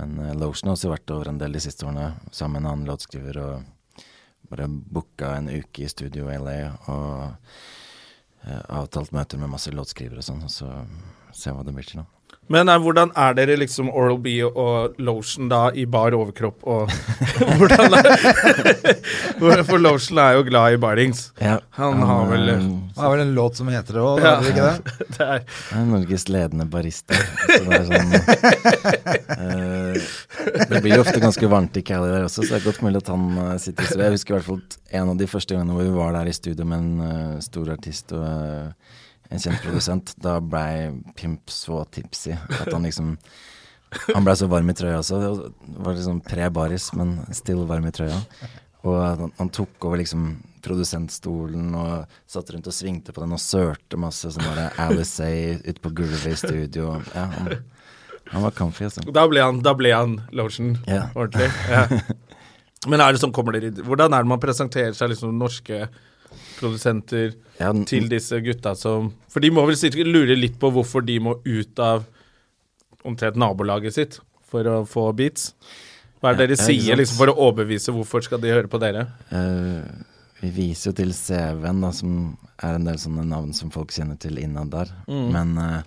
C: Men eh, Lotion har også vært over en del de siste årene, sammen med en annen låtskriver, og bare booka en uke i studio i LA og eh, avtalt møter med masse låtskrivere og sånn, og så se hva det blir til nå.
A: Men eh, hvordan er dere liksom Oral-B og Lotion da i bar overkropp og Hvordan er For Lotion er jo glad i barings.
C: Ja,
A: Han har vel-
C: eh,
B: Det er vel en låt som heter det òg, ja. det ikke det?
A: Det er,
C: Jeg er Norges ledende barista. Så det, er sånn, eh, det blir jo ofte ganske varmt i Cali der også, så det er godt mulig at han eh, sitter så Jeg husker i hvert fall at en av de første gangene hvor vi var der i studio med en eh, stor artist og eh, en kjent produsent, da blei Pimp så tipsy at han liksom Han blei så varm i trøya også. Det var liksom pre-baris, men still varm i trøya. Og han, han tok over liksom produsentstolen og satt rundt og svingte på den og sørte masse. Sånn var det Alice ute på gulvet i studio. Ja, han, han var comfy, altså.
A: da ble han, da ble han Lotion
C: Ja.
A: ordentlig. Ja. Men er det sånn kommer dere i- Hvordan er det man presenterer seg liksom norske produsenter
C: Ja, den-
A: til disse gutta som For de må vel sikkert lure litt på hvorfor de må ut av omtrent nabolaget sitt for å få beats. Hva er det dere
C: Ja, ikke
A: sier
C: sant.
A: liksom for å overbevise hvorfor skal de høre på dere?
C: Eh, vi viser jo til CV-en, da, som er en del sånne navn som folk kjenner til innad der.
A: Mm.
C: Men eh,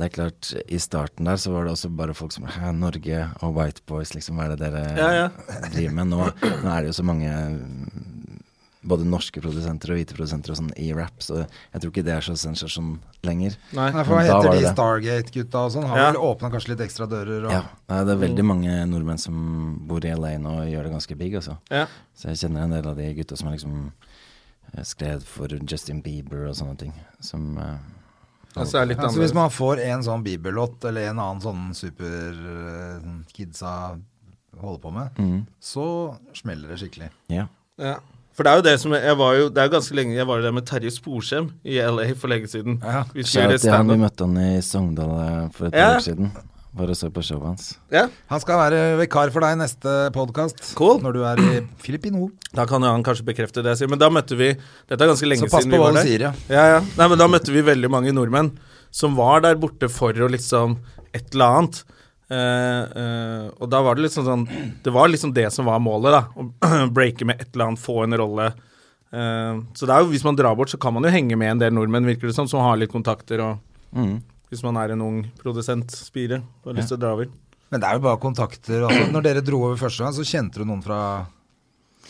C: det er klart, i starten der så var det også bare folk som Hæ, Norge og White Boys, liksom, hva er det dere
A: Ja, ja.
C: driver med? Nå, nå er det jo så mange mm, både norske produsenter og hvite produsenter og sånn i rap, så jeg tror ikke det er så sensasjon lenger.
A: Nei.
B: Nei, for hva
C: Da var
B: heter
C: det
B: de
C: det.
B: Stargate-gutta og sånn? Har
A: Ja.
B: vel åpna kanskje litt ekstra dører og
C: Ja, nei, det er
A: Mm.
C: veldig mange nordmenn som bor i LA nå og gjør det ganske big, altså.
A: Ja.
C: Så jeg kjenner en del av de gutta som har liksom eh, skrevet for Justin Bieber og sånne ting. Som eh,
A: Altså, det er litt
B: Ja, så hvis
A: annerledes.
B: man får en sånn Bieber-låt, eller en annen sånn super eh, sånn kidsa holder på med,
C: Mm.
B: så smeller det skikkelig.
C: Ja.
A: Ja. For det er jo det som Jeg var jo Det er jo ganske lenge Jeg var jo der med Terje Sporsem i LA for lenge siden.
B: Ja.
A: Vi skulle
C: Shout
A: gjøre
C: out til han vi
A: standup.
C: møtte han i Sogndal eh, for et
A: Ja.
C: par år siden. Var og så på showet hans.
A: Ja.
B: Han skal være vikar for deg neste podkast,
A: Cool.
B: når du er i Filippino.
A: Da kan jo han kanskje bekrefte det jeg sier. Men da møtte vi Dette er ganske lenge
B: Så pass
A: siden
B: på
A: vi
B: hva
A: var
B: du
A: der.
B: sier, ja.
A: Ja, ja. Nei, men da møtte vi veldig mange nordmenn som var der borte for å liksom et eller annet. Eh, eh, og da var det liksom sånn Det var liksom det som var målet, da. Å breake med et eller annet, få en rolle. Eh, så det er jo, hvis man drar bort, så kan man jo henge med en del nordmenn, virker det som, som har litt kontakter og
C: Mm.
A: Hvis man er en ung produsent, spire, og har lyst til å dra over.
B: Men det er jo bare kontakter. Altså, når dere dro over første gang, så kjente du noen fra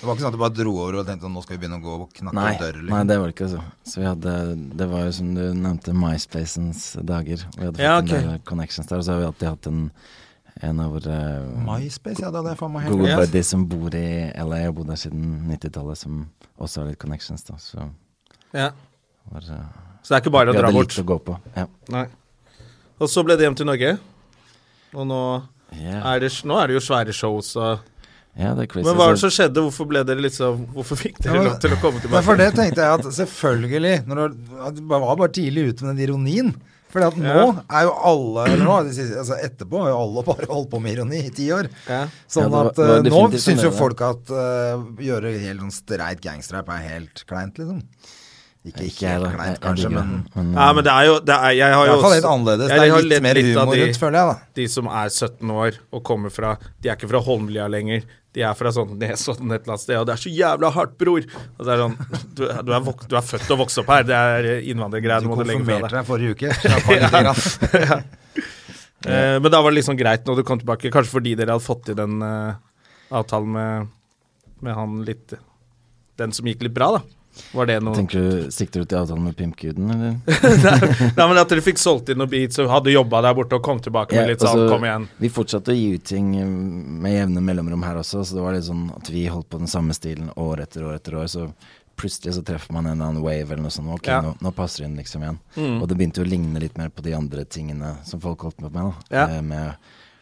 B: Det var ikke sånn at du bare dro over og tenkte sånn, nå skal vi begynne å gå og knakke
C: Nei,
B: på dører.
C: nei, det var det ikke, altså. Så vi hadde Det var jo som du nevnte, MySpacens dager. Og vi hadde fått
A: Ja, ok.
C: en del connections der, og så har vi alltid hatt en, en av våre
B: liksom. MySpace, ja, det hadde jeg faen meg helt
C: Gode
A: Ja.
C: buddies som bor i LA og bodde der siden 90-tallet, som også har litt connections, da. Så
A: Ja.
C: var, eh,
A: Så det er ikke bare
C: vi
A: å dra
C: hadde
A: bort.
C: litt å gå på. Ja.
A: Nei. Og så ble det hjem til Norge. Og nå
C: Yeah.
A: er det, nå er det jo svære shows og
C: Ja, det er Altså, crazy.
A: Men hva er det
C: Så-
A: som skjedde? Hvorfor ble dere liksom Hvorfor fikk
B: Ja,
A: dere
B: men-
A: lov til å komme
B: Nei, for det
A: tilbake?
B: tenkte jeg at selvfølgelig når du, at du bare var bare tidlig ute med den ironien. For at nå
A: Ja.
B: er jo alle eller nå, de siste- altså Etterpå har jo alle bare holdt på med ironi i ti år.
A: Ja.
B: Sånn
C: Ja, det var-
B: at
C: det var
B: eh, nå
C: definitivt
B: syns jo
C: en del,
B: folk at eh, gjøre helt sånn streit gangsterrap er helt kleint, liksom. Ikke, ikke helt kleint, kanskje,
C: digger det,
B: men
A: Nei, men det er jo det er, Jeg
B: i
A: har jo
B: hvert fall
A: også-
B: litt annerledes.
A: jeg
B: Det er
A: har
B: jo litt
A: lett
B: mer
A: av
B: humor
A: de,
B: rundt, føler jeg, da.
A: De som er 17 år og kommer fra De er ikke fra Holmlia lenger. De er fra sånn Nesodden et eller annet sted, og det er så jævla hardt, bror! Og så er det sånn Du, du, er, vok du er født og vokst opp her, det er innvandrergreier,
B: Du
A: du må du legge fra deg.
B: konfirmerte deg forrige uke. Slapp av litt, grann.
A: Eh, men da var det liksom greit når du kom tilbake, kanskje fordi dere hadde fått til den eh, avtalen med, med han litt Den som gikk litt bra, da. Var det noe
C: eh, Tenker du, Sikter du til avtalen med pimpguden, eller?
A: Nei, men At dere fikk solgt inn noen beats og hadde jobba der borte og kom tilbake med litt
C: Ja,
A: sånn
C: altså,
A: Kom igjen.
C: Vi fortsatte å gi ut ting um, med jevne mellomrom her også, så det var litt sånn at vi holdt på den samme stilen år etter år etter år. Så plutselig så treffer man en eller annen wave eller noe sånt. Ok,
A: Ja. Mm.
C: nå, nå passer det inn liksom igjen. Og det begynte jo å ligne litt mer på de andre tingene som folk holdt på med. da.
A: Ja.
C: Eh, med,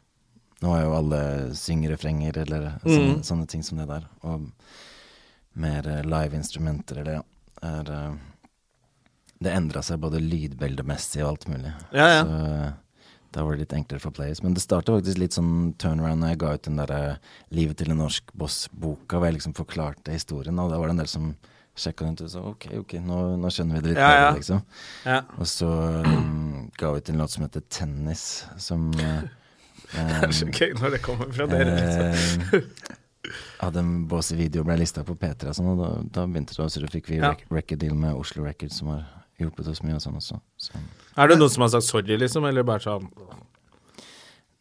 C: nå er jo alle syngerefrenger eller
A: Mm.
C: sånne, sånne ting som det der. Og mer eh, live instrumenter eller ja. Er, eh, det endra seg både lydbildemessig og alt mulig.
A: Ja, ja.
C: Så eh, Da var det litt enklere for players. Men det starta faktisk litt sånn turnaround når jeg ga ut den derre 'Livet til en norsk boss'-boka, hvor jeg liksom forklarte historien, og da var det en del som sjekka den ut og sa ok, ok, nå, nå skjønner vi det litt
A: Ja,
C: bedre,
A: ja.
C: liksom.
A: Ja.
C: Og så um, ga vi ut en låt som heter 'Tennis', som eh,
A: Det er så gøy når det kommer fra dere. Liksom.
C: Eh, Hadde en båse video og ble lista på P3 og sånn, og da, da begynte det også, så fikk vi
A: Ja.
C: rec record deal med Oslo Records, som har hjulpet oss mye og sånn også. Så,
A: Er det noen som har sagt sorry, liksom? Eller bare sånn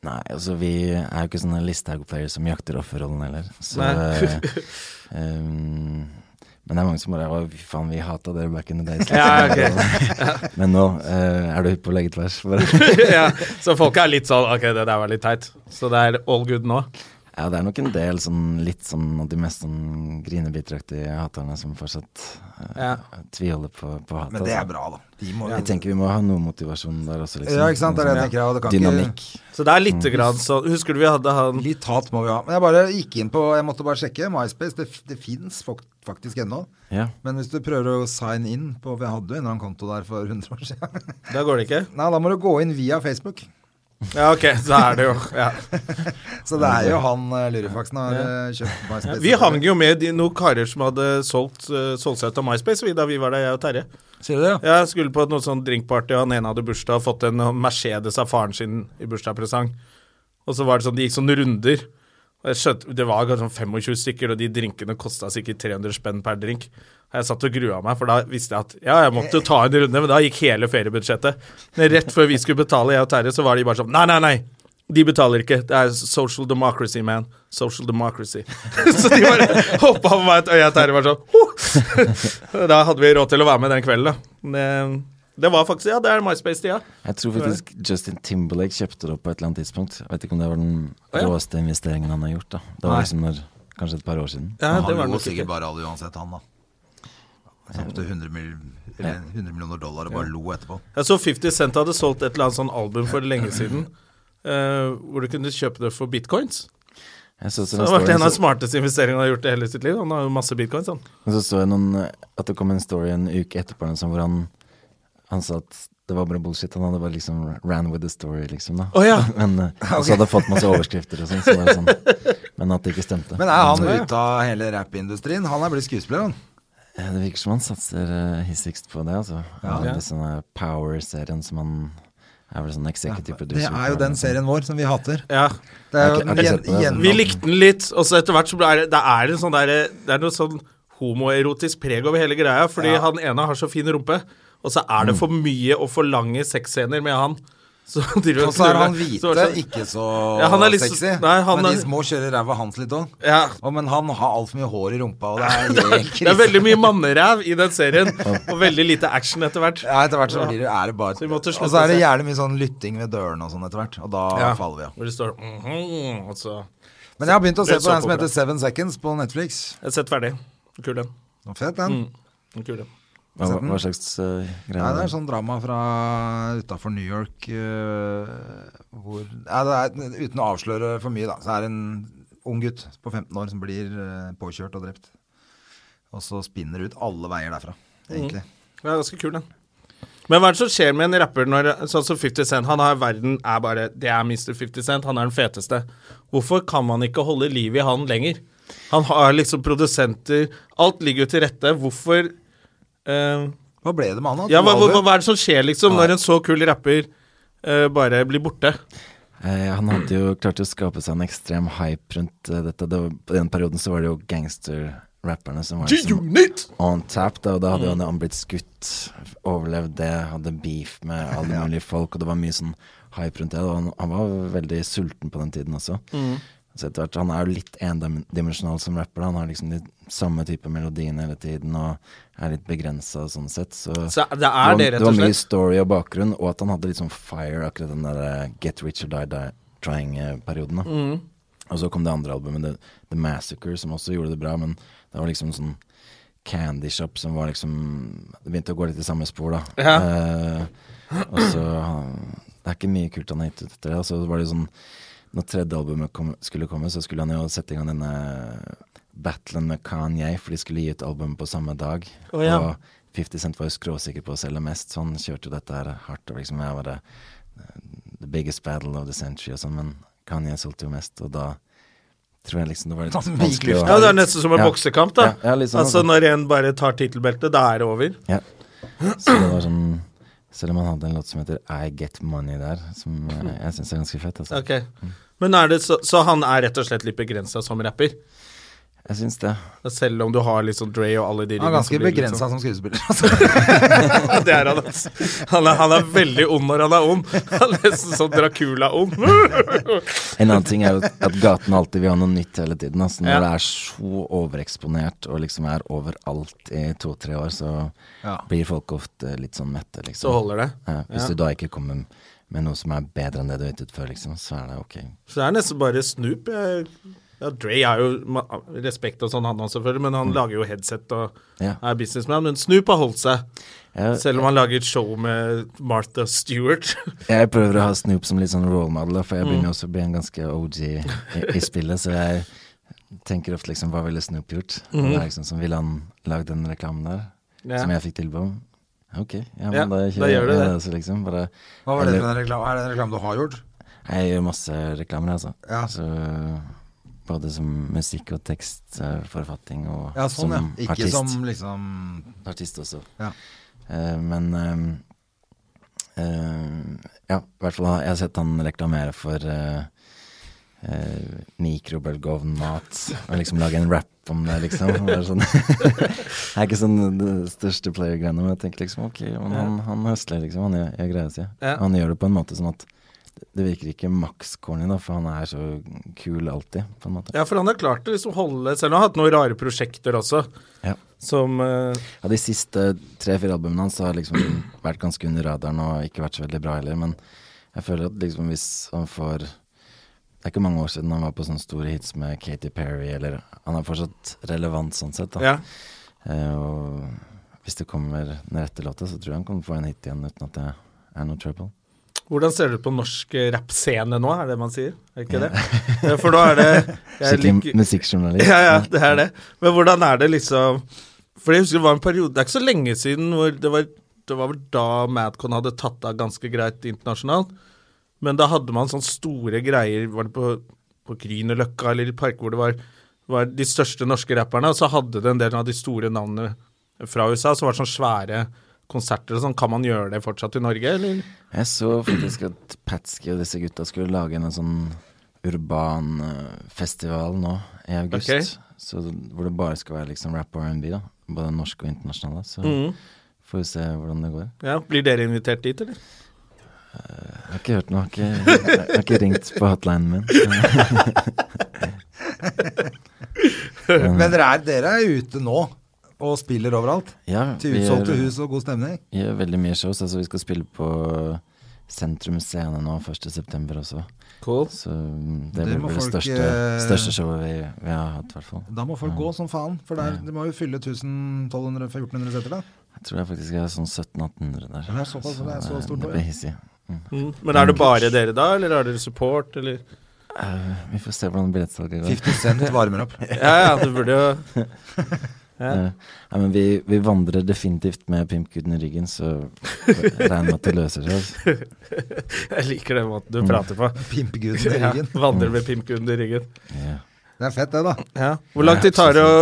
C: nei, altså vi er jo ikke sånne Listhaug-playere som jakter offerrollen heller, så
A: Nei.
C: eh, em, men det er mange som bare Å, fy faen, vi hata dere back in the days.
A: Ja, ok.
C: sånn. Men nå eh, er du hypp på å legge tvers. Bare.
A: ja, Så folk er litt sånn Ok, det der var litt teit. Så det er all good nå?
C: Ja, det er nok en del sånn litt sånn av de mest sånn grinebiteraktige haterne som fortsatt eh,
A: Ja.
C: tviholder på, på hatet.
B: Men det
C: altså.
B: er bra, da. De må,
C: Jeg tenker vi må ha noe motivasjon der også, liksom.
B: Ja, ikke sant? Det er det jeg tenker, ja, det kan ikke-
C: Dynamikk.
A: Så det er
C: Mm.
A: lite grann sånn Husker du vi hadde han
B: Litt hat må vi ha. Men jeg bare gikk inn på Jeg måtte bare sjekke. MySpace, det, det fins faktisk ennå.
C: Ja.
B: Men hvis du prøver å sign in på Vi hadde jo en eller annen konto der for 100 år siden.
A: Da går det ikke?
B: Nei, da må du gå inn via Facebook.
A: Ja, ok, så er det jo ja.
B: Så det er jo han eh, lurifaksen har eh, kjøpt MySpace.
A: Vi hang jo med de, noen karer som hadde solgt eh, solgt seg ut av MySpace vi, da vi var der, jeg og Terje.
B: Sier du det?
A: Jeg skulle på noe sånn drinkparty, og han ene hadde bursdag og fått en Mercedes av faren sin i bursdagspresang. Og så var det sånn, de gikk sånne runder. Og jeg skjønte, det var kanskje sånn 25 stykker, og de drinkene kosta sikkert 300 spenn per drink. Og jeg satt og grua meg, for da visste jeg at ja, jeg måtte jo ta en runde, men da gikk hele feriebudsjettet. Men rett før vi skulle betale, jeg og Terje, så var de bare sånn Nei, nei, nei. De betaler ikke. Det er social democracy, man. Social democracy. så de bare hoppa over meg, og jeg og Terje var sånn «Ho!» Da hadde vi råd til å være med den kvelden, da. Men Det, det var faktisk Ja, det er MySpace-tida.
C: Jeg tror faktisk Justin Timberlake kjøpte det opp på et eller annet tidspunkt. Jeg vet ikke om det var den
A: Å, ja.
C: råeste investeringen han har gjort. da Det var liksom når, kanskje et par år siden.
A: Ja,
B: han
A: det var
B: lo
A: nok
B: sikkert
A: ikke.
B: bare alle uansett, han da. Sånn Han brukte 100, mil- eller 100 millioner dollar og bare lo etterpå.
A: Jeg så 50 Cent hadde solgt et eller annet sånn album for lenge siden. eh, hvor du kunne kjøpe det for bitcoins.
C: Jeg så, så,
A: Så det har vært en av de smarteste investeringene han har gjort i hele sitt liv. Han har jo masse bitcoins, han.
C: så, så jeg noen, eh, at det kom en story en uke etterpå liksom, hvor han, han sa at det var bare bullshit. Han hadde bare liksom ran with the story, liksom. da
A: Å, ja.
C: Men eh, og så hadde han fått masse overskrifter og sånn, så var det sånn. Men at det ikke stemte.
B: Men er han ute av hele rappindustrien? Han er blitt skuespiller, han.
C: Ja, Det virker som han satser uh, hissigst på det, altså. Ja.
A: Ja.
C: Det er sånne Power-serien som han er vel sånn
B: Det
C: executive producer
B: er jo
C: på,
B: den
C: liksom.
B: serien vår som vi hater.
A: Ja.
B: Det er jo
C: Jeg har ikke- jeg har ikke sett på det,
B: gjen-
C: altså.
A: Vi likte den litt, og så etter hvert så ble det Det er en sånn derre Det er noe sånn homoerotisk preg over hele greia, fordi han ene har så fin rumpe, og så er det for mye og for lange sexscener med han. Så han driver
B: Og så er han
A: så
B: hvite,
A: var det sånn-
B: ikke så
A: Ja, han er litt så-
B: sexy.
A: nei, han
B: men
A: er-
B: de må kjøre ræva hans litt òg.
A: Ja.
B: Men han har altfor mye hår i rumpa, og det er helt
A: Det er
B: krise.
A: veldig mye manneræv i den serien, og veldig lite action etter hvert.
B: Ja, etter hvert så blir det, er det bare
A: vi måtte slutte
B: Og så er det
A: å se.
B: gjerne mye sånn lytting ved dørene og sånn etter hvert, og da
A: Ja.
B: faller vi av.
A: Hvor det står mhm, og så
B: Men jeg har begynt å se
A: Litt
B: på den som
A: såpeopera.
B: heter Seven Seconds på Netflix.
A: Jeg har sett ferdig. Kul den.
B: Nå Fett, den.
A: Kul den.
C: Hva, hva slags uh,
B: Nei,
C: greie er
B: Altså, det
C: det?
B: er sånn drama fra utafor New York eh, hvor Nei, det er, Uten å avsløre for mye, da, så er det en ung gutt på 15 år som blir eh, påkjørt og drept. Og så spinner det ut alle veier derfra, egentlig.
A: Den er ganske kul, den. Men hva er det som skjer med en rapper når Sånn som 50 Cent. Han er verden er bare Det er Mr. 50 Cent. Han er den feteste. Hvorfor kan man ikke holde liv i han lenger? Han har liksom produsenter. Alt ligger jo til rette. Hvorfor eh,
B: Hva ble det med han? da?
A: Ja,
B: To
A: hva, hva,
B: album?
A: hva er det som skjer, liksom, når en så kul rapper eh, bare blir borte?
C: Eh, han hadde jo klart å skape seg en ekstrem hype rundt eh, dette. Det var, på den perioden så var det jo gangsterrapperne som var liksom, on tap, da, og da
A: Mm.
C: hadde jo han blitt skutt, overlevd det, hadde beef med alle mulige folk, og det var mye sånn hype rundt det. Og han, han var veldig sulten på den tiden også.
A: Mm.
C: Så etter hvert, Han er jo litt endimensjonal som rapper. da. Han har liksom de samme type melodiene hele tiden og er litt begrensa sånn sett. Så,
A: Så det er det,
C: var,
A: rett og
C: var mye
A: slett.
C: story og bakgrunn, og at han hadde litt sånn fire akkurat den der eh, Get Rich or Die Die Trying-perioden. da. Og så kom det andre albumet, The, The Massacre, som også gjorde det bra, men det var liksom sånn Candy Shop som var liksom Det begynte å gå litt i samme spor, da.
A: Ja.
C: Eh, og så han- Det er ikke mye kult han har gitt ut etter det. Og så var det jo sånn Når tredje albumet kom, skulle komme, så skulle han jo sette i gang denne battlen med Kanye, for de skulle gi ut albumet på samme dag.
A: Å, ja.
C: Og 50 Cent var jo skråsikker på å selge mest, så han kjørte jo dette her hardt. Og liksom jeg bare eh, det biggest battle of the century og sånn, men Kanye solgte jo mest, og da tror jeg liksom det var litt
B: Sånn,
C: vanskelig å
B: gikk
A: Ja, det er nesten som en
C: Ja.
A: boksekamp, da.
C: Ja, ja, litt sånn,
A: altså,
C: altså.
A: når en bare tar tittelbeltet, da er det over.
C: Ja. Så det var sånn Selv om han hadde en låt som heter I Get Money der, som eh, jeg syns er ganske fett. Altså.
A: Ok. Men er det så, så han er rett og slett litt begrensa som rapper?
C: Jeg syns det.
A: Selv om du har liksom Dre og alle de
B: Han er
A: ringene
B: ganske
A: som blir litt
B: begrensa
A: sånn-
B: som skuespiller. Altså.
A: Ja, det er han, altså. Han er, han er veldig ond når han er ond. Han er nesten sånn Dracula-ond.
C: En annen ting er jo at gaten alltid vil ha noe nytt hele tiden. Altså, når
A: Ja.
C: det er så overeksponert og liksom er overalt i to-tre år, så
B: Ja.
C: blir folk ofte litt sånn mette,
A: Så
C: liksom.
A: holder det.
C: ja, hvis
A: Ja.
C: du da ikke kommer med noe som er bedre enn det du har gitt ut før, liksom, så er det ok.
A: Så det er nesten bare Snoop. jeg- Ja, Dre er jo ma- respekt og sånn, han også, selvfølgelig, men han lager jo headset og
C: Ja.
A: er businessman. Men Snoop har holdt seg,
C: Jeg,
A: selv om han lager et show med Martha Stewart.
C: jeg prøver å ha Snoop som litt sånn role model, da, for jeg
A: Mm.
C: begynner jo også å bli en ganske OG i, i spillet, så jeg tenker ofte liksom hva ville Snoop gjort? Og det er liksom sånn, Ville han lagd den reklamen der,
A: Mhm. Ja.
C: som jeg fikk tilbud om? Ok, ja, men
A: Ja,
C: da
A: da
C: kjører jeg
A: gjør du det.
C: altså, liksom, bare,
B: Hva var det
C: eller-
B: for en reklame? Er det en reklame du har gjort?
C: Jeg gjør masse reklamer, altså.
B: Ja.
C: Så, både som musikk og tekstforfatting og
B: Ja, sånn, ja.
C: som
B: Ikke
C: artist.
B: som liksom
C: Artist også.
B: Ja.
C: Eh, men eh, eh, Ja, i hvert fall har jeg har sett han reklamere for uh, mikrobølgeovnmat, og liksom lage en rap om det, liksom. Og Det er, sånn, det er ikke sånn det største player-greiene, men jeg tenker liksom ok, men han, han høsler, liksom. Han gjør, gjør greia si.
A: Ja.
C: Han gjør det på en måte sånn at det virker ikke maks corny, da, for han er så kul alltid, på en måte.
A: Ja, for han har klart å liksom holde Selv om han har hatt noen rare prosjekter også,
C: Ja.
A: som eh,
C: Ja, De siste tre-fire albumene hans har liksom vært ganske under radaren og ikke vært så veldig bra heller, men jeg føler at liksom hvis han får Det er ikke mange år siden han var på sånne store hits med Katy Perry, eller Han er fortsatt relevant sånn sett, da.
A: Ja.
C: Eh, og hvis det kommer den rette låta, så tror jeg han kommer få en hit igjen uten at det er noe trouble.
A: Hvordan ser det ut på norsk eh, rappscene nå, er det man sier? Er ikke det? Eh, For da er det jeg
C: Skikkelig
A: liker-
C: musikkjournalist.
A: Ja, ja, det er det. Men hvordan er det liksom For jeg husker det var en periode Det er ikke så lenge siden hvor det var, det var vel da Madcon hadde tatt av ganske greit internasjonalt. Men da hadde man sånne store greier Var det på, på Grünerløkka eller i parker hvor det var, var de største norske rapperne? Og så hadde det en del av de store navnene fra USA, så var det sånne svære konserter og sånn. Kan man gjøre det fortsatt i Norge, eller?
C: Jeg så faktisk at Patsky og disse gutta skulle lage en sånn urban eh, festival nå i august.
A: Ok.
C: Så, hvor det bare skal være liksom rap og R&B, da. Både norske og internasjonale. Så får vi se hvordan det går.
A: Ja, Blir dere invitert dit, eller?
C: Jeg har ikke hørt noe. Jeg har ikke, jeg har ikke ringt på hotlinen min. så-
B: Men dere er, dere er ute nå og spiller overalt?
C: Ja,
B: Til
C: vi
B: utsolgte
C: gjør,
B: hus og god stemning?
C: vi gjør veldig mye shows. Altså, vi skal spille på Sentrum Scene nå 1.9. også.
A: Cool.
C: Så mm, det
B: Det
C: blir
B: må
C: vel det
B: folk,
C: største,
B: eh,
C: største showet vi, vi har hatt, i hvert fall.
B: Da må folk gå som faen, for der, de må jo fylle 1200-1400 seter, da.
C: Jeg tror jeg faktisk jeg er sånn 1700-1800 der. eh,
B: Det er såpass, det er så stort nå,
C: det
B: ja.
C: blir hissig.
A: Mm. Men er det bare dere da, eller har dere support, eller?
C: Eh, vi får se hvordan billettsalget går.
B: 50 Cent varmer opp.
A: Ja, ja, du burde jo
C: Eh, nei, men vi, vi vandrer definitivt med pimpguden i ryggen, så regner med at det løser seg. altså.
A: Jeg liker den måten du prater på.
B: Pimpeguden i
A: Ja,
B: ryggen.
A: vandrer med pimpkunden i ryggen.
C: Ja.
B: Det er fett, det, da.
A: Hvor lang tid tar det å,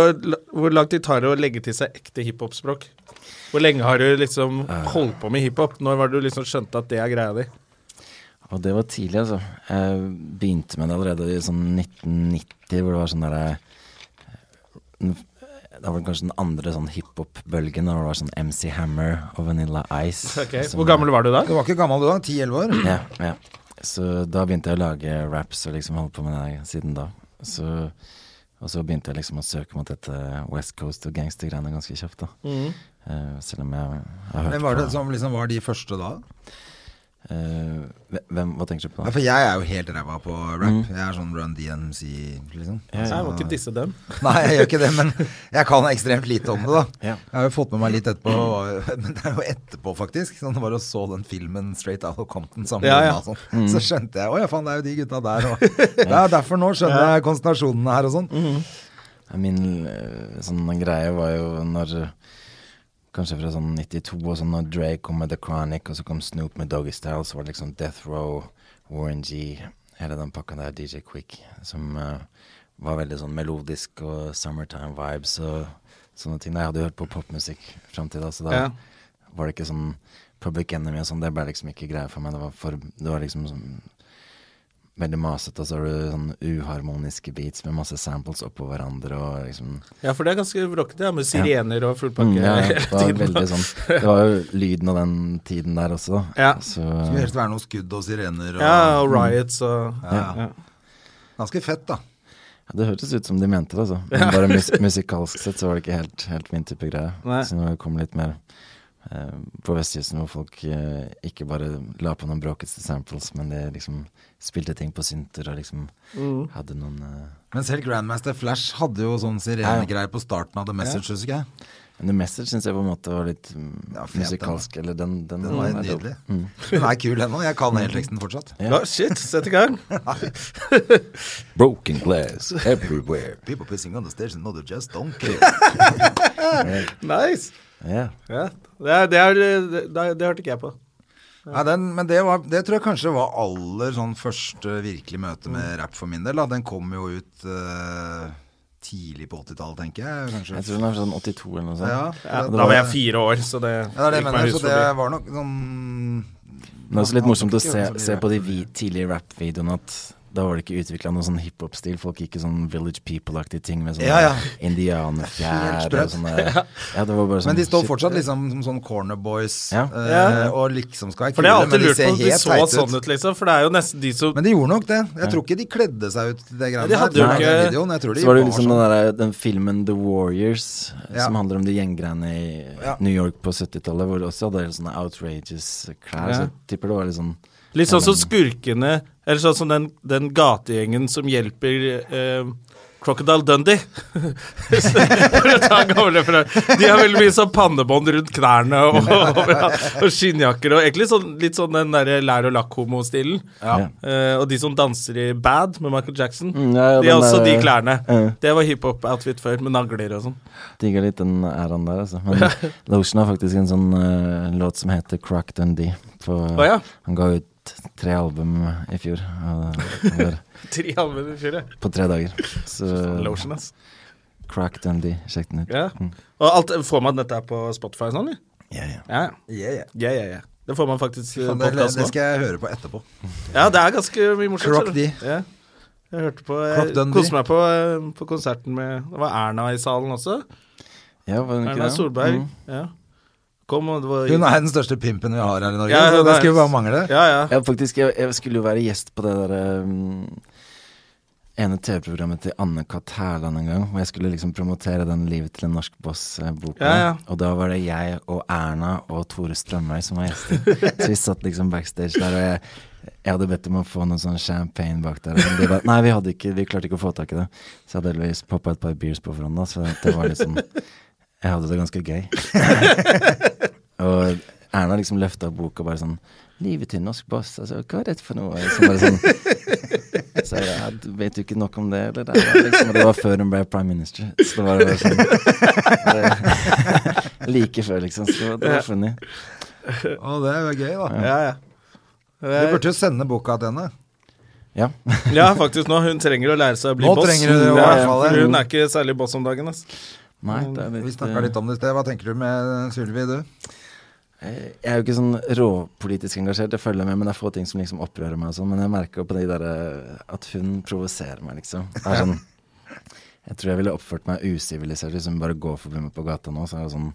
A: hvor lang tid tar det å legge til seg ekte hiphop-språk? Hvor lenge har du liksom holdt på med hiphop? Når var det du liksom skjønte at det er greia di?
C: Og det var tidlig, altså. Jeg begynte med det allerede i sånn 1990, hvor det var sånn derre Det var vel kanskje den andre sånn hiphop-bølgen, hvor det var sånn MC Hammer og Vanilla Ice. som-
A: Hvor gammel var du da?
B: Du var ikke gammel du da? 10-11 år?
C: Ja, ja. Så da begynte jeg å lage raps og liksom holdt på med det siden da. Så, og så begynte jeg liksom å søke mot dette West Coast og gangstergreiene ganske kjapt, da. Eh, selv om jeg har hørt
B: Mm. Hvem var det
C: på
B: som liksom var de første da?
C: eh, hve- hvem, Hva tenker du på?
B: Ja, for jeg er jo helt ræva på
A: Mm.
B: rap. Jeg er sånn Run DMC, liksom.
A: Nei,
B: Altså,
A: jeg må ikke disse dem.
B: Nei, jeg gjør ikke det, men jeg kan ekstremt lite om det, da.
C: Ja.
B: Jeg har jo fått med meg litt etterpå, og- men det er jo etterpå, faktisk. Sånn, det var og så den filmen Straight Out of Compton sammen
A: Ja,
B: med
A: Mm. ja.
B: Jonas og sånn. Så skjønte jeg Å ja, faen, det er jo de gutta der og Det er derfor nå skjønner jeg konsentrasjonene
A: Mm.
B: her og sånn.
C: Min eh, sånn greie var jo når Kanskje fra sånn 92, og sånn når Dre kom med The Chronic, og så kom Snoop med Doggy Style, så var det liksom Death Row, Warren G, hele den pakka der, DJ Quick, som eh, var veldig sånn melodisk og summertime vibes og sånne ting. Jeg hadde jo hørt på popmusikk fram til da, så da
A: Ja.
C: var det ikke sånn Public Enemy og sånn, det ble liksom ikke greia for meg. Det var, for, det var liksom sånn veldig masete, og så har du sånn uharmoniske beats med masse samples oppå hverandre og liksom
A: Ja, for det er ganske rockete, ja, med sirener og full pakke.
C: Mm, ja,
A: hele
C: det var
A: tiden.
C: veldig sånn Det var jo lyden av den tiden der også, da.
A: Ja.
C: Så,
B: Skulle helst være noen skudd og sirener. Og,
A: Ja, og riots og
B: Ja, ja. Ganske fett, da.
C: ja, det hørtes ut som de mente det, altså. Men bare mus musikalsk sett så var det ikke helt, helt min type greie.
A: Nei.
C: Så når det kom litt mer eh, på vestkysten hvor folk eh, ikke bare la på noen bråkete samples, men de liksom spilte ting på synter og liksom
A: Mm.
C: hadde noen eh,
B: Men selv Grandmaster Flash hadde jo sånn sirenegreier på starten av The Message, husker jeg.
C: Men The Message syns jeg på en måte var litt mm,
B: Ja, fint,
C: musikalsk, eller den, den,
B: Den var
C: er dope.
B: nydelig. Den er kul ennå. Jeg kan hele teksten fortsatt.
A: ja. Shit, sett i gang.
D: Broken glass everywhere.
B: People pissing on the station, no, they just don't care.
A: Nice.
C: Ja.
A: Ja. Det, er, det, er, det, det, det hørte ikke jeg på.
B: Nei, den, men det, var, det tror jeg kanskje var aller sånn første virkelig møte med rap for min del. Da. Den kom jo ut eh, tidlig på 80-tallet, tenker jeg. Kanskje.
C: Jeg tror den er fra sånn 82 eller noe sånt.
B: Ja,
A: Ja,
B: det
A: da var jeg fire år, så det
B: Ja, det er det jeg
A: gikk meg
B: mener.
A: hus
B: Så det
A: forbi.
B: var nok sånn
C: Men det er også litt
B: Han
C: morsomt å
B: tok ikke
C: se,
B: så mye
C: se
B: rap.
C: på de vi, tidlige rap-videoene at da var det ikke utvikla noen sånn hiphop-stil. Folk gikk i sånn Village People-aktige ting med sånne
B: Ja, ja. Helt
C: indianerfjær
B: sprøtt.
C: og sånne ja, det var bare sånn,
B: Men de står
C: shit.
B: fortsatt liksom som sånn corner boys
C: Ja.
B: eh,
A: Ja.
B: og liksom skal være
A: For det
B: kule,
A: har jeg alltid
B: men de
A: lurt på
B: ser
A: om de
B: helt
A: så
B: teite
A: sånn
B: ut.
A: ut, liksom. For det er jo nesten de som
B: Men de gjorde nok det. Jeg tror ikke de kledde seg ut til det
A: de
B: greiene der.
A: hadde jo
B: Nei,
A: ikke-
B: den videoen, Jeg tror de
C: Så var det
B: var
C: liksom
B: sånn.
C: den, der, den filmen The Warriors,
B: Ja.
C: som handler om de gjenggreiene i
B: Ja.
C: New York på 70-tallet, hvor de også hadde helt sånne outrageous klær.
A: Ja.
C: Så jeg tipper det var litt sånn
A: Litt sånn som skurkene Eller sånn som den, den gategjengen som hjelper eh, Crocodile Dundee. For å ta en gammel referanse. De har veldig mye sånn pannebånd rundt knærne og, og, og skinnjakker. Og egentlig sånn, litt sånn den derre lær og lakk-homo-stilen.
C: Ja.
A: Eh, og de som danser i Bad med Michael Jackson.
C: Mm, ja, ja,
A: de har
C: den
A: også de
C: der-
A: klærne.
C: Ja.
A: Det var hiphop-outfit før, med nagler og sånn.
C: Digga litt den æraen der, altså. Men Lotion har faktisk en sånn eh, låt som heter Crack Dundee. På,
A: Å ja.
C: Han ga ut tre album i fjor, og det var
A: Tre halvmenn i fjøret.
C: på tre dager. Så
A: Lotion, ass.
C: Crack Dundee, sjekk den ut. Mm.
A: Ja. Og alt, får man dette her på Spotify og sånn, eller?
C: Ja, ja.
A: Ja, ja.
B: Yeah, yeah.
A: Ja, ja, ja. Det får man faktisk eh,
B: Faen, Det,
A: podcast
B: det
A: nå.
B: skal jeg høre på etterpå.
A: Ja, det er ganske mye morsomt.
B: Croc
A: ser du.
B: D.
A: Ja. Jeg hørte på
B: Croc
A: Jeg
B: Dundee.
A: koste meg på, eh, på konserten med Det var Erna i salen også.
C: ja var hun ikke
A: Erna
C: det?
A: Solberg.
C: Mm.
A: Ja. Kom, og det var
B: Hun er den største pimpen vi har her i Norge,
A: Ja,
B: så
A: hun
B: det
A: er-
B: skulle bare mangle.
A: Ja, ja.
C: Ja, faktisk, jeg, jeg skulle jo være gjest på det derre um, ene TV-programmet til Anne-Kat. Hærland en gang, hvor jeg skulle liksom promotere den 'Livet til en norsk boss'-boka.
A: Ja, ja.
C: Og da var det jeg og Erna og Tore Strømøy som var gjester. Så vi satt liksom backstage der, og jeg, jeg hadde bedt om å få noe sånn champagne bak der. Men de bare Nei, vi, hadde ikke, vi klarte ikke å få tak i det. Så jeg hadde heldigvis poppa et par beers på forhånd, da, så det var liksom Jeg hadde det ganske gøy. Og Erna liksom løfta opp boka og bare sånn 'Livet til en norsk boss', altså, hva er dette for noe? Liksom bare sånn Så jeg ja, du vet jo ikke nok om det, eller? Det, var liksom, og det var før hun ble prime minister. Så det var bare sånn det, Like før, liksom. Så det var funny.
B: Å, det er jo gøy, da.
A: Ja, ja.
B: Du
A: Eh,
B: burde jo sende boka til henne.
C: Ja.
A: ja, faktisk nå. Hun trenger å lære seg å bli
B: Nå
A: boss.
B: trenger hun det, i
A: Ja,
B: hvert
A: ja,
B: fall,
A: for
B: ja.
A: Hun er ikke særlig boss om dagen, ass.
C: Nei, det er litt,
B: Vi snakka litt om det i sted. Hva tenker du med Sylvi, du?
C: eh, Jeg er jo ikke sånn råpolitisk engasjert, jeg følger med, men det er få ting som liksom opprører meg og sånn. Men jeg merker jo på de der eh, at hun provoserer meg, liksom. Det er sånn Jeg tror jeg ville oppført meg usivilisert hvis hun bare går forbi meg på gata nå. Så er det sånn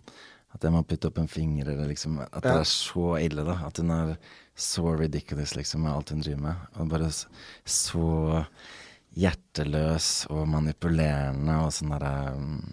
C: at jeg må putte opp en finger, eller liksom At det er så ille, da. At hun er så ridiculous, liksom, med alt hun driver med. Og bare s- så hjerteløs og manipulerende og sånn derre um,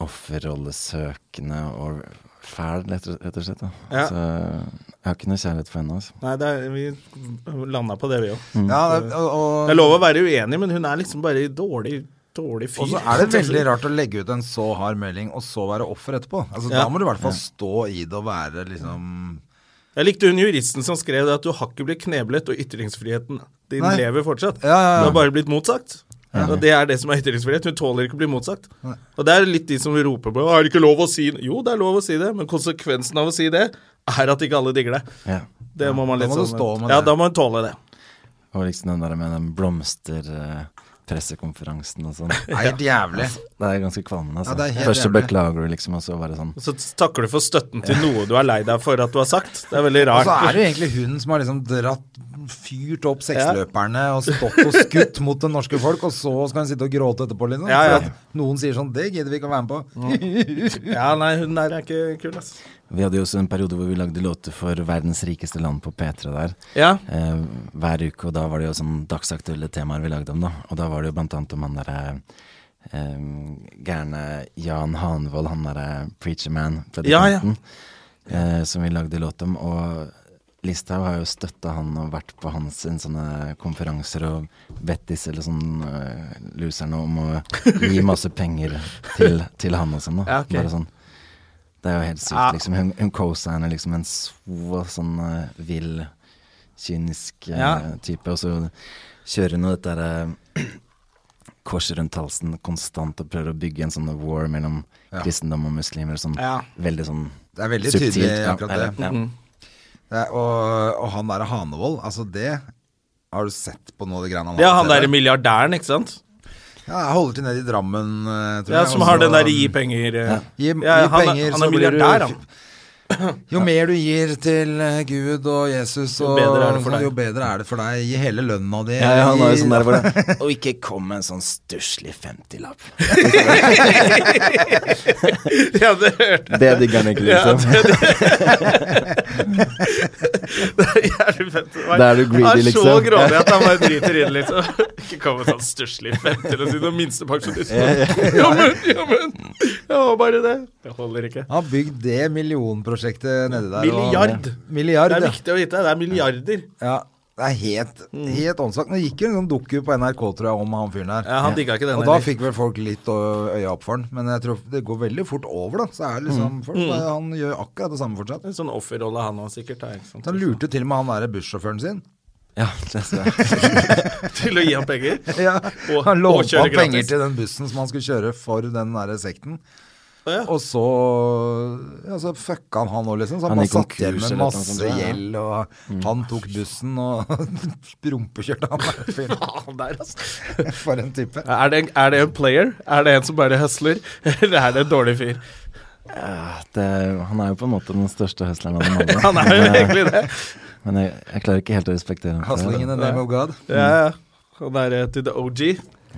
C: Offerrollesøkende og fæl, rett og rett og slett. da
A: Ja.
C: Så jeg har ikke noe kjærlighet for henne, altså.
A: Nei, det er, vi landa på det, vi òg.
C: Mm.
B: Ja, det, og, og,
A: Det er lov å være uenig, men hun er liksom bare dårlig, dårlig fyr.
B: og så er det veldig rart å legge ut en så hard melding, og så være offer etterpå. Altså,
A: Ja.
B: Da må du i hvert fall stå i det og være liksom
A: Jeg likte hun juristen som skrev det at du har ikke blitt kneblet, og ytringsfriheten din
B: Nei.
A: lever fortsatt.
B: Ja, ja, ja.
A: Du har bare blitt motsagt. Og Det er det som er ytringsfrihet. Hun tåler ikke å bli motsagt. Og det er litt de som roper på Er det ikke lov å si Jo, det er lov å si det, men konsekvensen av å si det er at ikke alle digger det.
C: Ja.
A: Det må
B: Da
A: man litt
B: må du
A: sånn-
B: stå med
A: Ja,
B: det.
A: da må man tåle det.
C: Og liksom den der med den blomsterpressekonferansen og sånn.
B: Det er helt jævlig.
A: Altså,
C: Det er ganske kvalmende. Altså.
B: Ja, det er helt
C: Først så
B: jævlig.
C: beklager du, liksom, og så bare sånn
A: Og så takker du for støtten til noe du er lei deg for at du har sagt. Det er veldig
B: Og
A: rart.
B: så er det jo egentlig hun som har liksom dratt fyrt opp seksløperne og stått og skutt mot det norske folk, og så skal hun sitte og gråte etterpå, liksom.
A: Ja, ja. Mm.
B: For at Noen sier sånn Det gidder vi ikke å være med på.
A: Ja, nei, hun der er ikke kul, ass.
C: Vi hadde jo også en periode hvor vi lagde låter for verdens rikeste land på P3 der.
A: Ja.
C: Eh, hver uke, og da var det jo sånn dagsaktuelle temaer vi lagde om, da. Og da var det jo blant annet om han derre eh, gærne Jan Hanvold, han derre preacher man,
A: Ja, ja.
C: predikanten, eh, som vi lagde låt om. Og Listhaug har jo støtta han og vært på hans sin sånne konferanser og bedt disse eller sånn eh, loserne om å gi masse penger til, til han og sånn, da.
A: Ja, ok.
C: Bare sånn. Det er jo helt sykt,
A: Ja.
C: liksom. Hun, hun co-signer liksom en så sånn eh, vill, kynisk eh,
A: Ja.
C: type, og så kjører hun jo dette der eh, korset rundt halsen konstant og prøver å bygge en sånn war mellom kristendom og muslimer, sånn
A: Ja. Mm-hmm.
C: veldig sånn
B: Det er veldig
C: subtilt.
B: tydelig
C: ja,
B: akkurat det.
C: eller- ja.
B: Det er- og, og han derre Hanevold, altså det Har du sett på noe av de greiene han
A: Det er han
B: på TV?
A: derre milliardæren, ikke sant?
B: Ja, jeg holder til nede i Drammen, eh, tror
A: Ja,
B: jeg.
A: Som
B: og
A: har
B: så-
A: den derre gi penger eh.
B: Gi-
A: Ja,
B: gi
A: han, er-
B: penger,
A: han
B: så
A: er
B: blir du-
A: milliardær, han.
B: Jo mer du gir til eh, Gud og Jesus,
A: Jo
B: og,
A: bedre er det for
B: sånn,
A: deg.
B: jo bedre er det for deg. Gi hele lønna di.
C: Ja, ja, han har jo
B: Gi-
C: sånn der hvor det Og ikke kom med en sånn stusslig 50-lapp.
A: Ja, det hørte jeg.
C: Det digger han ikke,
A: Ja,
C: liksom.
A: det, det er jævlig fett.
C: Da er du greedy,
A: Han er så
C: liksom.
A: grådig at han bare driter i det, liksom. Ikke kom med sånn stusslig femter og si noe minstepensjonist. Jammen, sånn, jammen. Ja, bare det. Det holder ikke.
B: Han har bygd det millionprosjektet nedi der. og-
A: Milliard.
B: Milliard,
A: Det er
B: ja.
A: viktig å vite. Det er milliarder.
B: ja. Det er helt,
C: Mm.
B: helt åndssvakt. Det gikk jo en sånn doku på NRK tror jeg, om han fyren her.
A: Ja, han digga ikke den
B: og da
A: heller.
B: fikk vel folk litt ø, øya opp for han. Men jeg tror det går veldig fort over, da. Så er
C: Mm.
B: det liksom folk, bare- Han gjør akkurat det samme fortsatt.
A: En sånn offerrolle han òg sikkert er. ikke sant?
B: Så han lurte til og med han derre bussjåføren sin.
C: Ja, det ser jeg.
A: Til å gi ham penger.
B: Ja,
A: Og-
B: han
A: og
B: lovte
A: kjøre
B: han penger
A: gratis.
B: til den bussen som han skulle kjøre for den derre sekten.
A: Å, ja.
B: Og så ja, så fucka han han òg, liksom. Så han,
C: Han
B: bare
C: gikk
B: satt
C: konkurs
B: igjen
C: eller
B: med
C: noe sånt,
B: masse
C: tror jeg, ja. Mm.
B: gjeld, og han tok bussen og rumpekjørte han der fyren.
A: Faen der, altså.
B: For en type.
A: Er det, en- er det en player? Er det en som bare høsler? Eller er det en dårlig fyr?
C: Ja, det, han er jo på en måte den største høsleren av dem alle.
A: Han er jo
C: Men, eh,
A: egentlig det.
C: Men jeg, jeg klarer ikke helt å respektere ham. for det, da.
B: Hustling in the name of God.
A: Ja, ja. Han er eh, to the OG.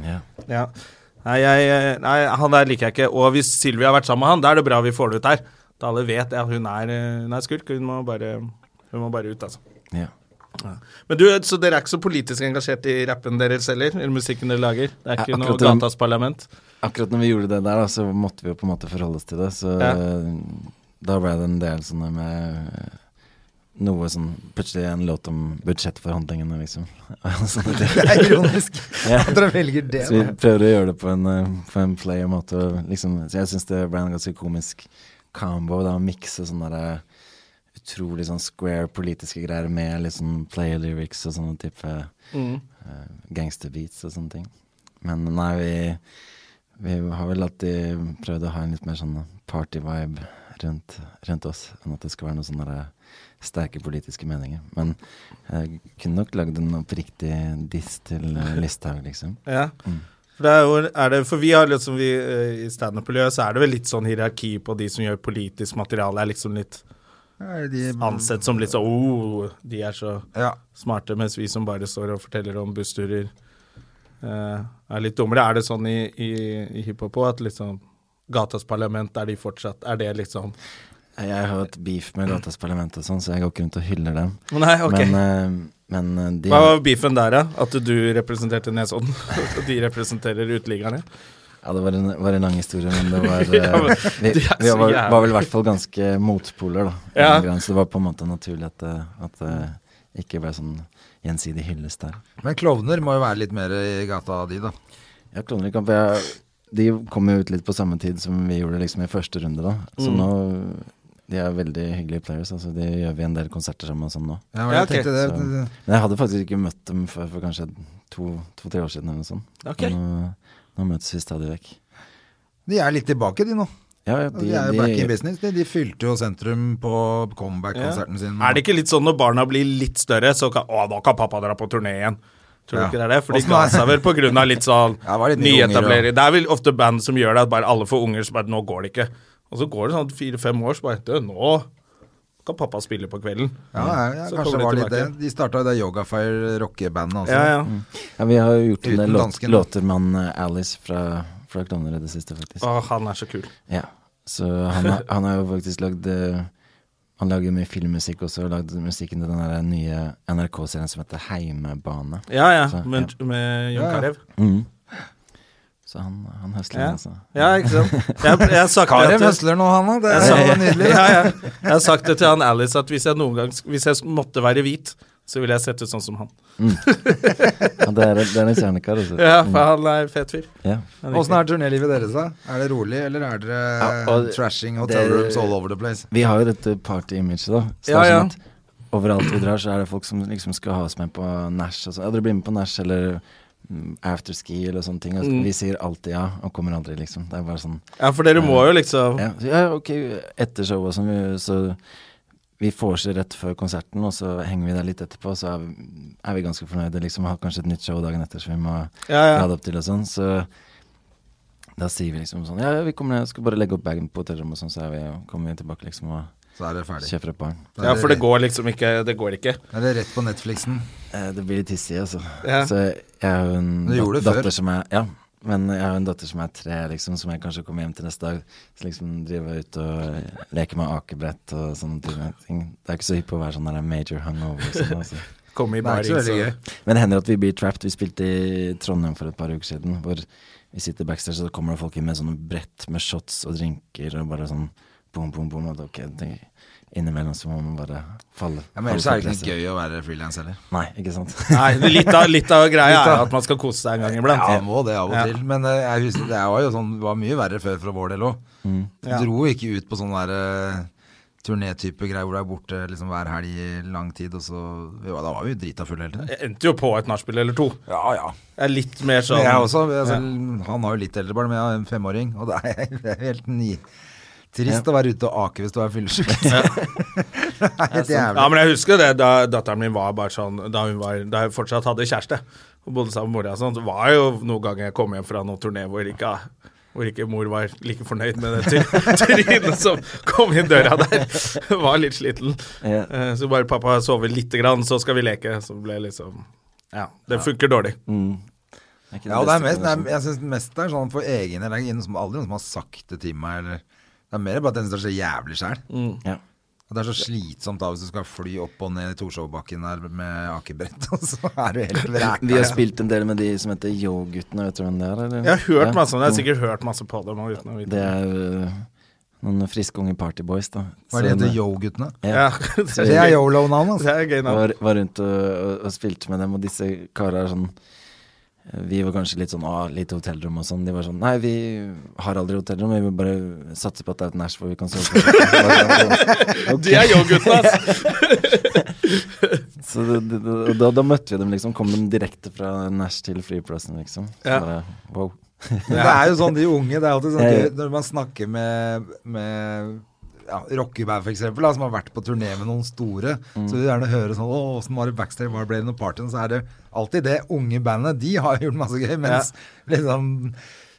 C: Ja.
A: Ja. Nei, jeg, eh, nei, han der liker jeg ikke. Og hvis Sylvia har vært sammen med han, da er det bra vi får det ut her. Da alle vet at hun er, eh, hun er skurk. Hun må bare, hun må bare ut, altså.
C: Ja.
A: Men du, Så dere er ikke så politisk engasjert i rappen deres heller? Eller musikken dere lager? Det er
C: Ja,
A: ikke noe
C: akkurat den-
A: gatas parlament?
C: Akkurat når vi gjorde det der, da, så måtte vi jo på en måte forholde oss til det. Så
A: Ja.
C: da ble det en del sånne med eh, noe sånn Plutselig en låt om budsjettforhandlingene, liksom. Sånne ting.
B: Det er ironisk
C: Ja.
B: at dere velger det.
C: Så vi prøver å gjøre det på en, eh, på en player måte. og Liksom, så jeg syns det ble en ganske komisk combo. Da, å mikse sånne der, eh, utrolig sånn square politiske greier med litt sånn player lyrics og sånne type
B: Mm.
C: eh, gangsterbeats og sånne ting. Men nei, vi, vi har vel alltid prøvd å ha en litt mer sånn party-vibe rundt, rundt oss, enn at det skal være noen sånne der eh, sterke politiske meninger. Men jeg kunne nok lagd en oppriktig diss til eh, Listhaug, liksom.
A: Ja. For, det er jo, er det, for vi har liksom vi, eh, I standup-miljøet så er det vel litt sånn hierarki på de som gjør politisk materiale, er liksom litt
B: Ja, de-
A: ansett som litt sånn oh, de er så
B: Ja.
A: smarte, mens vi som bare står og forteller om bussturer, eh, er litt dummere. Er det sånn i, i, i hiphop òg, at liksom Gatas parlament, er de fortsatt Er det liksom
C: Jeg har jo hatt beef med Gatas Parlament og sånn, så jeg går ikke rundt og hyller dem.
A: Mm. Nei, ok.
C: Men, eh, men eh, de
A: Hva var beefen der, da? At du representerte Nesodden, og de representerer uteliggerne?
C: Ja, det var en, var en lang historie, men det var eh,
A: Ja, men
C: Vi,
A: det er
C: vi
A: så
C: var,
A: jævlig.
C: var vel i hvert fall ganske motpoler, da. i
A: Ja.
C: den grad, Så det var på en måte naturlig at det, at det ikke ble sånn gjensidig hyllest der.
B: Men klovner må jo være litt mer i gata di, da.
C: Ja, Klovnekamp
A: Mm.
C: jeg, De kom jo ut litt på samme tid som vi gjorde liksom i første runde, da. Så nå de er veldig hyggelige players. Altså, de gjør vi en del konserter sammen og sånn nå.
B: Ja, men
A: Ja,
B: jeg
A: ok.
B: tenkte det,
C: Så-
B: det,
C: Men jeg hadde faktisk ikke møtt dem før for kanskje to- to-tre år siden eller noe sånt.
A: Ok.
C: Nå, nå møtes vi stadig vekk.
B: de er litt tilbake, de nå.
C: Ja, ja,
B: De, er jo back in business. De, de fylte jo sentrum på comeback-konserten sin.
A: Er det ikke litt sånn når barna blir litt større, så kan, å, nå kan pappa dra på turné igjen? Tror du
B: Ja.
A: ikke det er det? For de
B: Åssen
A: ga
B: er-
A: seg vel på grunn av litt sånn
B: Ja, det var litt mye unger,
A: nyetablering.
B: og-
A: Det er vel ofte band som gjør det, at bare alle får unger, så bare nå går det ikke. Og så går det sånn fire-fem år, så bare «Du, nå kan pappa spille på kvelden.
B: Ja, ja, ja
A: Så
B: kanskje det
A: kommer de
B: var litt det. Mm.
A: tilbake.
B: De starta det Yogafire rockebandet også.
A: Ja, ja.
C: Ja, vi har jo gjort en
B: Uten
C: del låt,
B: dansken.
C: låter med han eh, Alice fra, fra Klovner i det siste, faktisk.
A: Å, han er så kul.
C: Ja, så han, har- han har jo faktisk lagd eh, Han lager mye filmmusikk også, og lagd musikken til den der nye NRK-serien som heter Heimebane.
A: Ja, ja.
C: Så,
A: Med, med Jon
B: Ja, ja.
A: Carew.
C: Mhm. Så han, han høsler,
A: Mm. Ja.
C: altså.
A: Ja, ikke sant. Jeg, jeg sa ikke
B: Karev
A: at-
B: høsler nå, han da. Det
A: Jeg
B: er
A: sa,
B: jo nydelig.
A: ja, ja. Jeg har sagt det til han Alice at hvis jeg noen gang Hvis jeg måtte være hvit, så ville jeg sett ut sånn som han.
C: Ja, det er, det er en kjernekar, altså.
A: Ja, for han er fet fyr.
C: Ja.
B: Åssen er turnélivet deres, da? Er det rolig, eller er dere
C: Ja, og det-
B: trashing
C: det-
B: hotel rooms all over the place?
C: Vi har jo dette party-imaget, da. Så
A: Ja,
C: det er
A: ja.
C: sånn at overalt vi drar, så er det folk som liksom skal ha oss med på Nash og sånn. Ja, dere blir med på Nash eller mm, afterski eller sånne ting. Og så,
A: Mm.
C: Vi sier alltid ja, og kommer aldri, liksom. Det er bare sånn
A: Ja, for dere må jo liksom
C: Ja, så, ja ok, etter showet og sånn, vi- så vi vorser rett før konserten, og så henger vi der litt etterpå, og så er vi, er vi ganske fornøyde, liksom. Har kanskje et nytt show dagen etter som vi må
A: Ja, ja.
C: lade opp til og sånn, så da sier vi liksom sånn Ja, ja, vi kommer ned, skal bare legge opp bagen på hotellrommet og sånn, så er vi, kommer vi tilbake, liksom, og
B: Så er dere ferdig.
C: kjøper et barn.
B: Da
A: Ja,
B: er
A: for det går liksom ikke Det går ikke.
B: Er det rett på Netflixen?
C: Eh, Det blir litt hissig, altså.
A: Ja.
C: Så jeg har jo en
B: Du gjorde det
C: dat-
B: før.
C: datter som er Ja, men jeg har jo en datter som er tre, liksom, som jeg kanskje kommer hjem til neste dag. Så liksom driver jeg ut og leker med akebrett og sånne type ting. Det er ikke så hypp på å være sånn der major hangover. og Sånn, altså.
A: Komme i
B: Det er
A: bar,
B: ikke så veldig
A: så-
B: gøy.
C: Men det hender at vi blir trapped. Vi spilte i Trondheim for et par uker siden, hvor vi sitter backstage, og så kommer det folk inn med sånne brett med shots og drinker og bare sånn bom, bom, bom. Og da, ok, tenker jeg, innimellom så må man bare falle.
B: Ja, men ellers er det
C: falle for
B: ikke noe gøy å være frilans heller.
C: presset. Nei, ikke sant.
A: Nei, det- litt av, litt av greia
B: Litt av-
A: er at man skal kose seg en gang iblant.
B: Ja, må det av og
A: Ja.
B: til. Men eh, jeg husker, det var jo sånn, det var mye verre før fra vår del òg.
C: Mm.
A: Ja.
B: Dro ikke ut på sånn der eh, turnétype greier hvor du er borte liksom hver helg i lang tid, og så jo, Da var vi jo drita fulle hele tiden.
A: Jeg endte jo på et nachspiel eller to.
B: Ja, ja.
A: Jeg er litt mer sånn
B: Men jeg også. Altså, Han har jo litt eldre barn, men jeg har en femåring, og det er, det er helt ny. Trist å være ute og ake hvis du er fyllesyk. det er helt
A: Ja,
B: jævlig.
A: men jeg husker det da datteren min var bare sånn Da hun var, da hun fortsatt hadde kjæreste og bodde sammen med mora og sånn, så var det jo noen ganger jeg kom hjem fra noen turné hvor ikke hvor ikke mor var like fornøyd med det try- trynet som kom inn døra der. Var litt sliten.
C: Ja.
A: Eh, Så bare pappa sover lite grann, så skal vi leke. Så ble liksom Ja, det funker dårlig.
C: ikke
B: Ja, og det er mest,
C: beste
B: det er,
C: kombinasjonen.
B: jeg syns mest det er sånn for egen del. Det er ingen som- aldri noen som har sagt det til meg, eller Det er mer bare at den står så jævlig sjæl.
A: Mm.
C: Ja.
B: Og Det er så slitsomt da hvis du skal fly opp og ned i Torshovbakken der med akebrett, og så er du helt vræka.
C: Vi har spilt en del med de som heter Yo-guttene, vet du hvem det er? Eller?
A: Jeg har hørt
C: Ja. Mm.
A: masse om det. Jeg har sikkert hørt masse på det. men uten å vite.
C: Det er øh, noen friske unge partyboys, da.
B: Hva
A: sånn,
B: er det de
A: eh,
C: Som,
B: heter, Yo-guttene?
C: Ja.
A: Ja,
B: Det er Yolo-navn,
A: Det
B: altså.
A: er gøy navn.
C: Var, var rundt og, og, og spilte med dem, og disse karene er sånn vi var kanskje litt sånn ah, lite hotellrom og sånn. De var sånn Nei, vi har aldri hotellrom, vi vil bare satse på sånn, at det er et nach hvor vi kan sove. på».
A: De er yo-guttene, altså.
C: Så det, det, det, og da, da møtte vi dem, liksom. Kom dem direkte fra nach til flyplassen, liksom. Så
A: Ja.
C: bare, wow.
B: Men det er jo sånn de unge Det er alltid sånn
C: Ja,
B: at
C: ja.
B: du- når man snakker med, med ja, rockeband, for eksempel, da, som har vært på turné med noen store, så vil du gjerne høre sånn Å, åssen var det backstage, hva ble det noe party? Og Så er det alltid det unge bandet. De har gjort masse gøy, mens liksom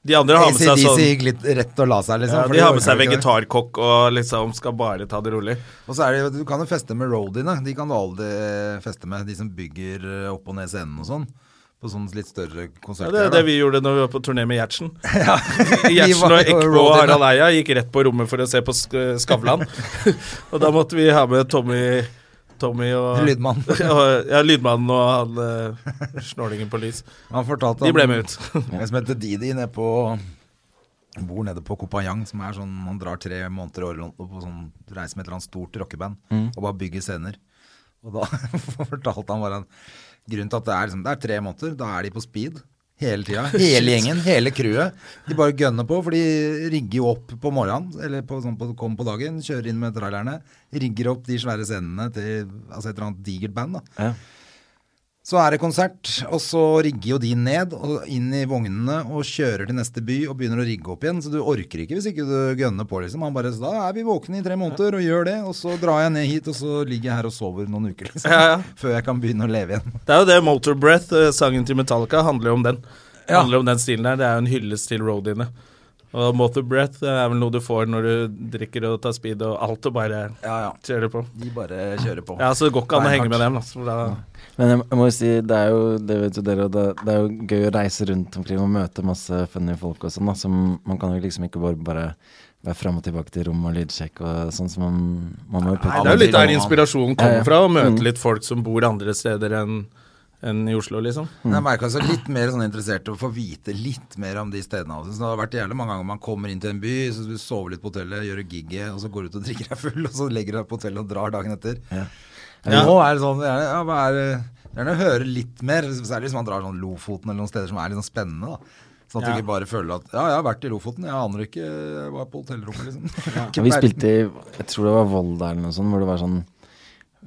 A: De andre har med seg
B: ACDC
A: sånn
B: gikk litt rett og la seg, liksom.
A: Ja,
B: for
A: de har med
B: orker
A: seg
B: ikke det.
A: vegetarkokk og liksom skal bare ta det rolig.
B: Og så er det jo, Du kan jo feste med roadiene. De kan du aldri eh, feste med, de som bygger eh, opp og ned scenen og sånn. På sånne litt større
A: Ja,
B: konserter.
A: det er det
B: da.
A: vi gjorde når vi var på turné med Gjertsen.
B: Vi
A: Gjertsen
B: var
A: og
B: jo
A: Ekbo og
B: roadiene.
A: Harald Eia gikk rett på rommet for å se på Sk- Skavlan. og da måtte vi ha med Tommy, Tommy og
B: Lydmann.
A: og- ja, Lydmannen og han eh, snålingen på lys.
B: Han fortalte
A: De ble
B: han-
A: med ut.
B: En som heter Didi nede på Bor nede på Kopayang, som er sånn Han drar tre måneder i året på sånn reise med et eller annet stort rockeband og bare bygger scener. Og da fortalte han bare en grunn til at det er liksom Det er tre måneder, da er de på speed. Hele tida. Hele gjengen, hele crewet. De bare gønner på, for de rigger jo opp på morgenen, eller på, sånn på, kommer på dagen, kjører inn med trailerne, rigger opp de svære scenene til altså et eller annet digert band. da.
C: Ja.
B: Så er det konsert, og så rigger jo de ned og inn i vognene og kjører til neste by og begynner å rigge opp igjen. Så du orker ikke hvis ikke du gønner på, liksom. Han bare så Da er vi våkne i tre måneder og gjør det, og så drar jeg ned hit, og så ligger jeg her og sover noen uker, liksom.
A: Ja, ja.
B: Før jeg kan begynne å leve igjen.
A: Det er jo det Motor Breath, eh, sangen til Metallica, handler jo om den. Handler om den stilen der. Det er jo en hyllest til roadiene. Og Motor Breath eh, er vel noe du får når du drikker og tar speed og alt og bare
B: Ja, ja.
A: kjører på.
B: De bare kjører på.
A: Ja, så det går ikke an å
B: Nei,
A: henge med
B: takk.
A: dem. Altså, for da,
C: Men jeg, jeg må jo si, det er jo, det vet jo dere, og det, det er jo gøy å reise rundt omkring og møte masse funny folk og sånn, da, som man kan jo liksom ikke bare, bare være fram og tilbake til rom og lydsjekk og sånn som man, man må jo putte
A: det er jo litt
C: litt-
A: der inspirasjonen
C: Ja,
A: kommer
C: ja.
A: fra, å møte
C: Mm.
A: litt folk som bor andre steder enn enn i Oslo, liksom.
B: Men Jeg merka seg litt mer sånn interessert i å få vite litt mer om de stedene. av og til. Så det har vært jævlig mange ganger man kommer inn til en by, så du sover litt på hotellet, gjør gigget, og så går du ut og drikker deg full, og så legger du deg på hotellet og drar dagen etter. Men Nå er det sånn gjerne, ja, hva er, det- gjerne høre litt mer, særlig hvis man drar sånn Lofoten eller noen steder som er litt sånn spennende. da. Sånn at
A: Ja.
B: du ikke bare føler at Ja, jeg har vært i Lofoten, jeg aner ikke Jeg var på hotellrommet, liksom.
C: Ja, vi spilte i Jeg tror det var Volda eller noe sånt, hvor det var sånn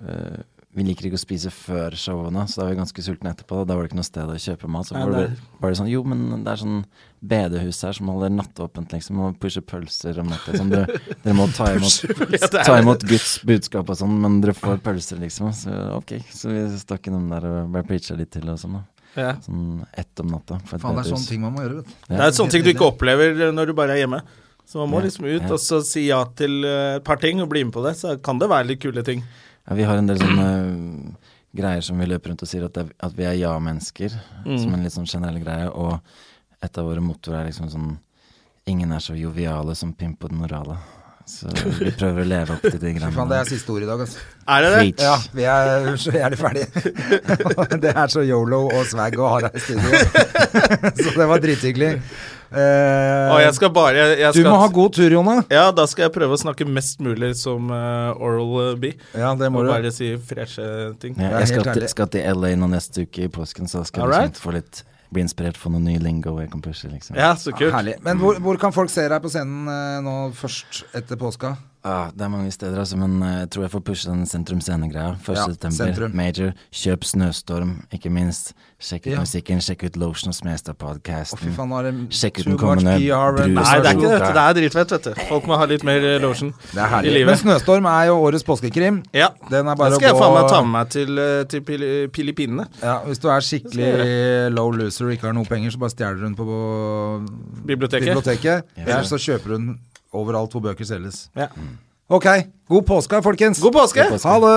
C: eh, Vi liker ikke å spise før showene, så da var vi ganske sultne etterpå. Da var det ikke noe sted å kjøpe mat. Så
A: Ja,
C: var, det,
A: det
C: var det sånn Jo, men det er sånn bedehus her som holder nattåpent, liksom, og pusher pølser om natta. Sånn, dere, dere må ta imot,
A: Ja, det er-
C: ta imot Guds budskap og sånn, men dere får pølser, liksom. Så ok. Så vi stakk innom der og ble preacha litt til og sånn, da.
A: Ja.
C: Sånn ett om natta. på et
B: Faen, det er
C: bedehus.
B: sånne ting man må gjøre, vet du.
A: Det er sånne ting du ikke opplever eh, når du bare er hjemme. Så man må liksom ut
C: ja.
A: og så si ja til eh, et par ting og bli med på det, så kan det være litt kule ting.
C: Ja, vi har en del sånne øh, greier som vi løper rundt og sier at, det, er- at vi er ja-mennesker, som en litt sånn generell greie. Og et av våre mottoer er liksom sånn Ingen er så joviale som pimp på den orale. Så vi prøver å leve opp til de
B: Fy faen, det
C: greiene.
B: er siste ord i dag, altså.
A: Er det det?
C: Preach.
B: Ja, vi er så jævlig ferdige. det er så yolo og swag og hare i studio. så det var drithyggelig. Eh,
A: Å, jeg skal bare jeg, jeg
B: du
A: skal,
B: må ha god tur, Jone.
A: Ja, da skal jeg prøve å snakke mest mulig som eh, Oral B.
B: Ja, det må
A: og
B: du.
A: bare si freshe ting.
B: det
C: Ja,
B: er
C: jeg skal
B: helt
C: til,
B: ærlig.
C: skal til LA nå neste uke i påsken, så skal jeg
A: Alright.
C: liksom få litt bli inspirert for noe ny lingo jeg kan pushe, liksom.
A: Ja, så kult.
B: Herlig. Men hvor, hvor kan folk se deg på scenen eh, nå først etter påska?
C: Ah, det er mange steder, altså, men eh, jeg tror jeg får pushe den sentrum scene-greia. 1.
B: Ja,
C: september,
B: sentrum.
C: Major. Kjøp Snøstorm, ikke minst. Sjekk ut
B: Ja.
C: musikken, sjekk ut Lotion og
B: Å, fy
C: Smestad-podkasten.
B: faen, nå er det
C: Sjekk ut
B: too
C: den kommende
B: much PR eh, and-
C: brus-
A: Nei, det er ikke
C: Snøstorm.
A: dette. Det er dritfett, vet du. Folk må ha litt mer eh, lotion
B: Det er
A: i
B: herlig. Men
A: livet.
B: Snøstorm er jo årets påskekrim.
A: Ja.
B: Den er
A: Da
B: bare
A: skal jeg
B: å
A: faen meg
B: gå-
A: ta med meg til, eh, til Pil- Filippinene.
B: Ja, hvis du er skikkelig low loser og ikke har noe penger, så bare stjeler du den på
A: Biblioteket.
B: biblioteket. Eller så kjøper du den overalt hvor bøker selges.
A: Ja.
B: Ok, god påske, folkens.
A: God påske!
B: Ha det!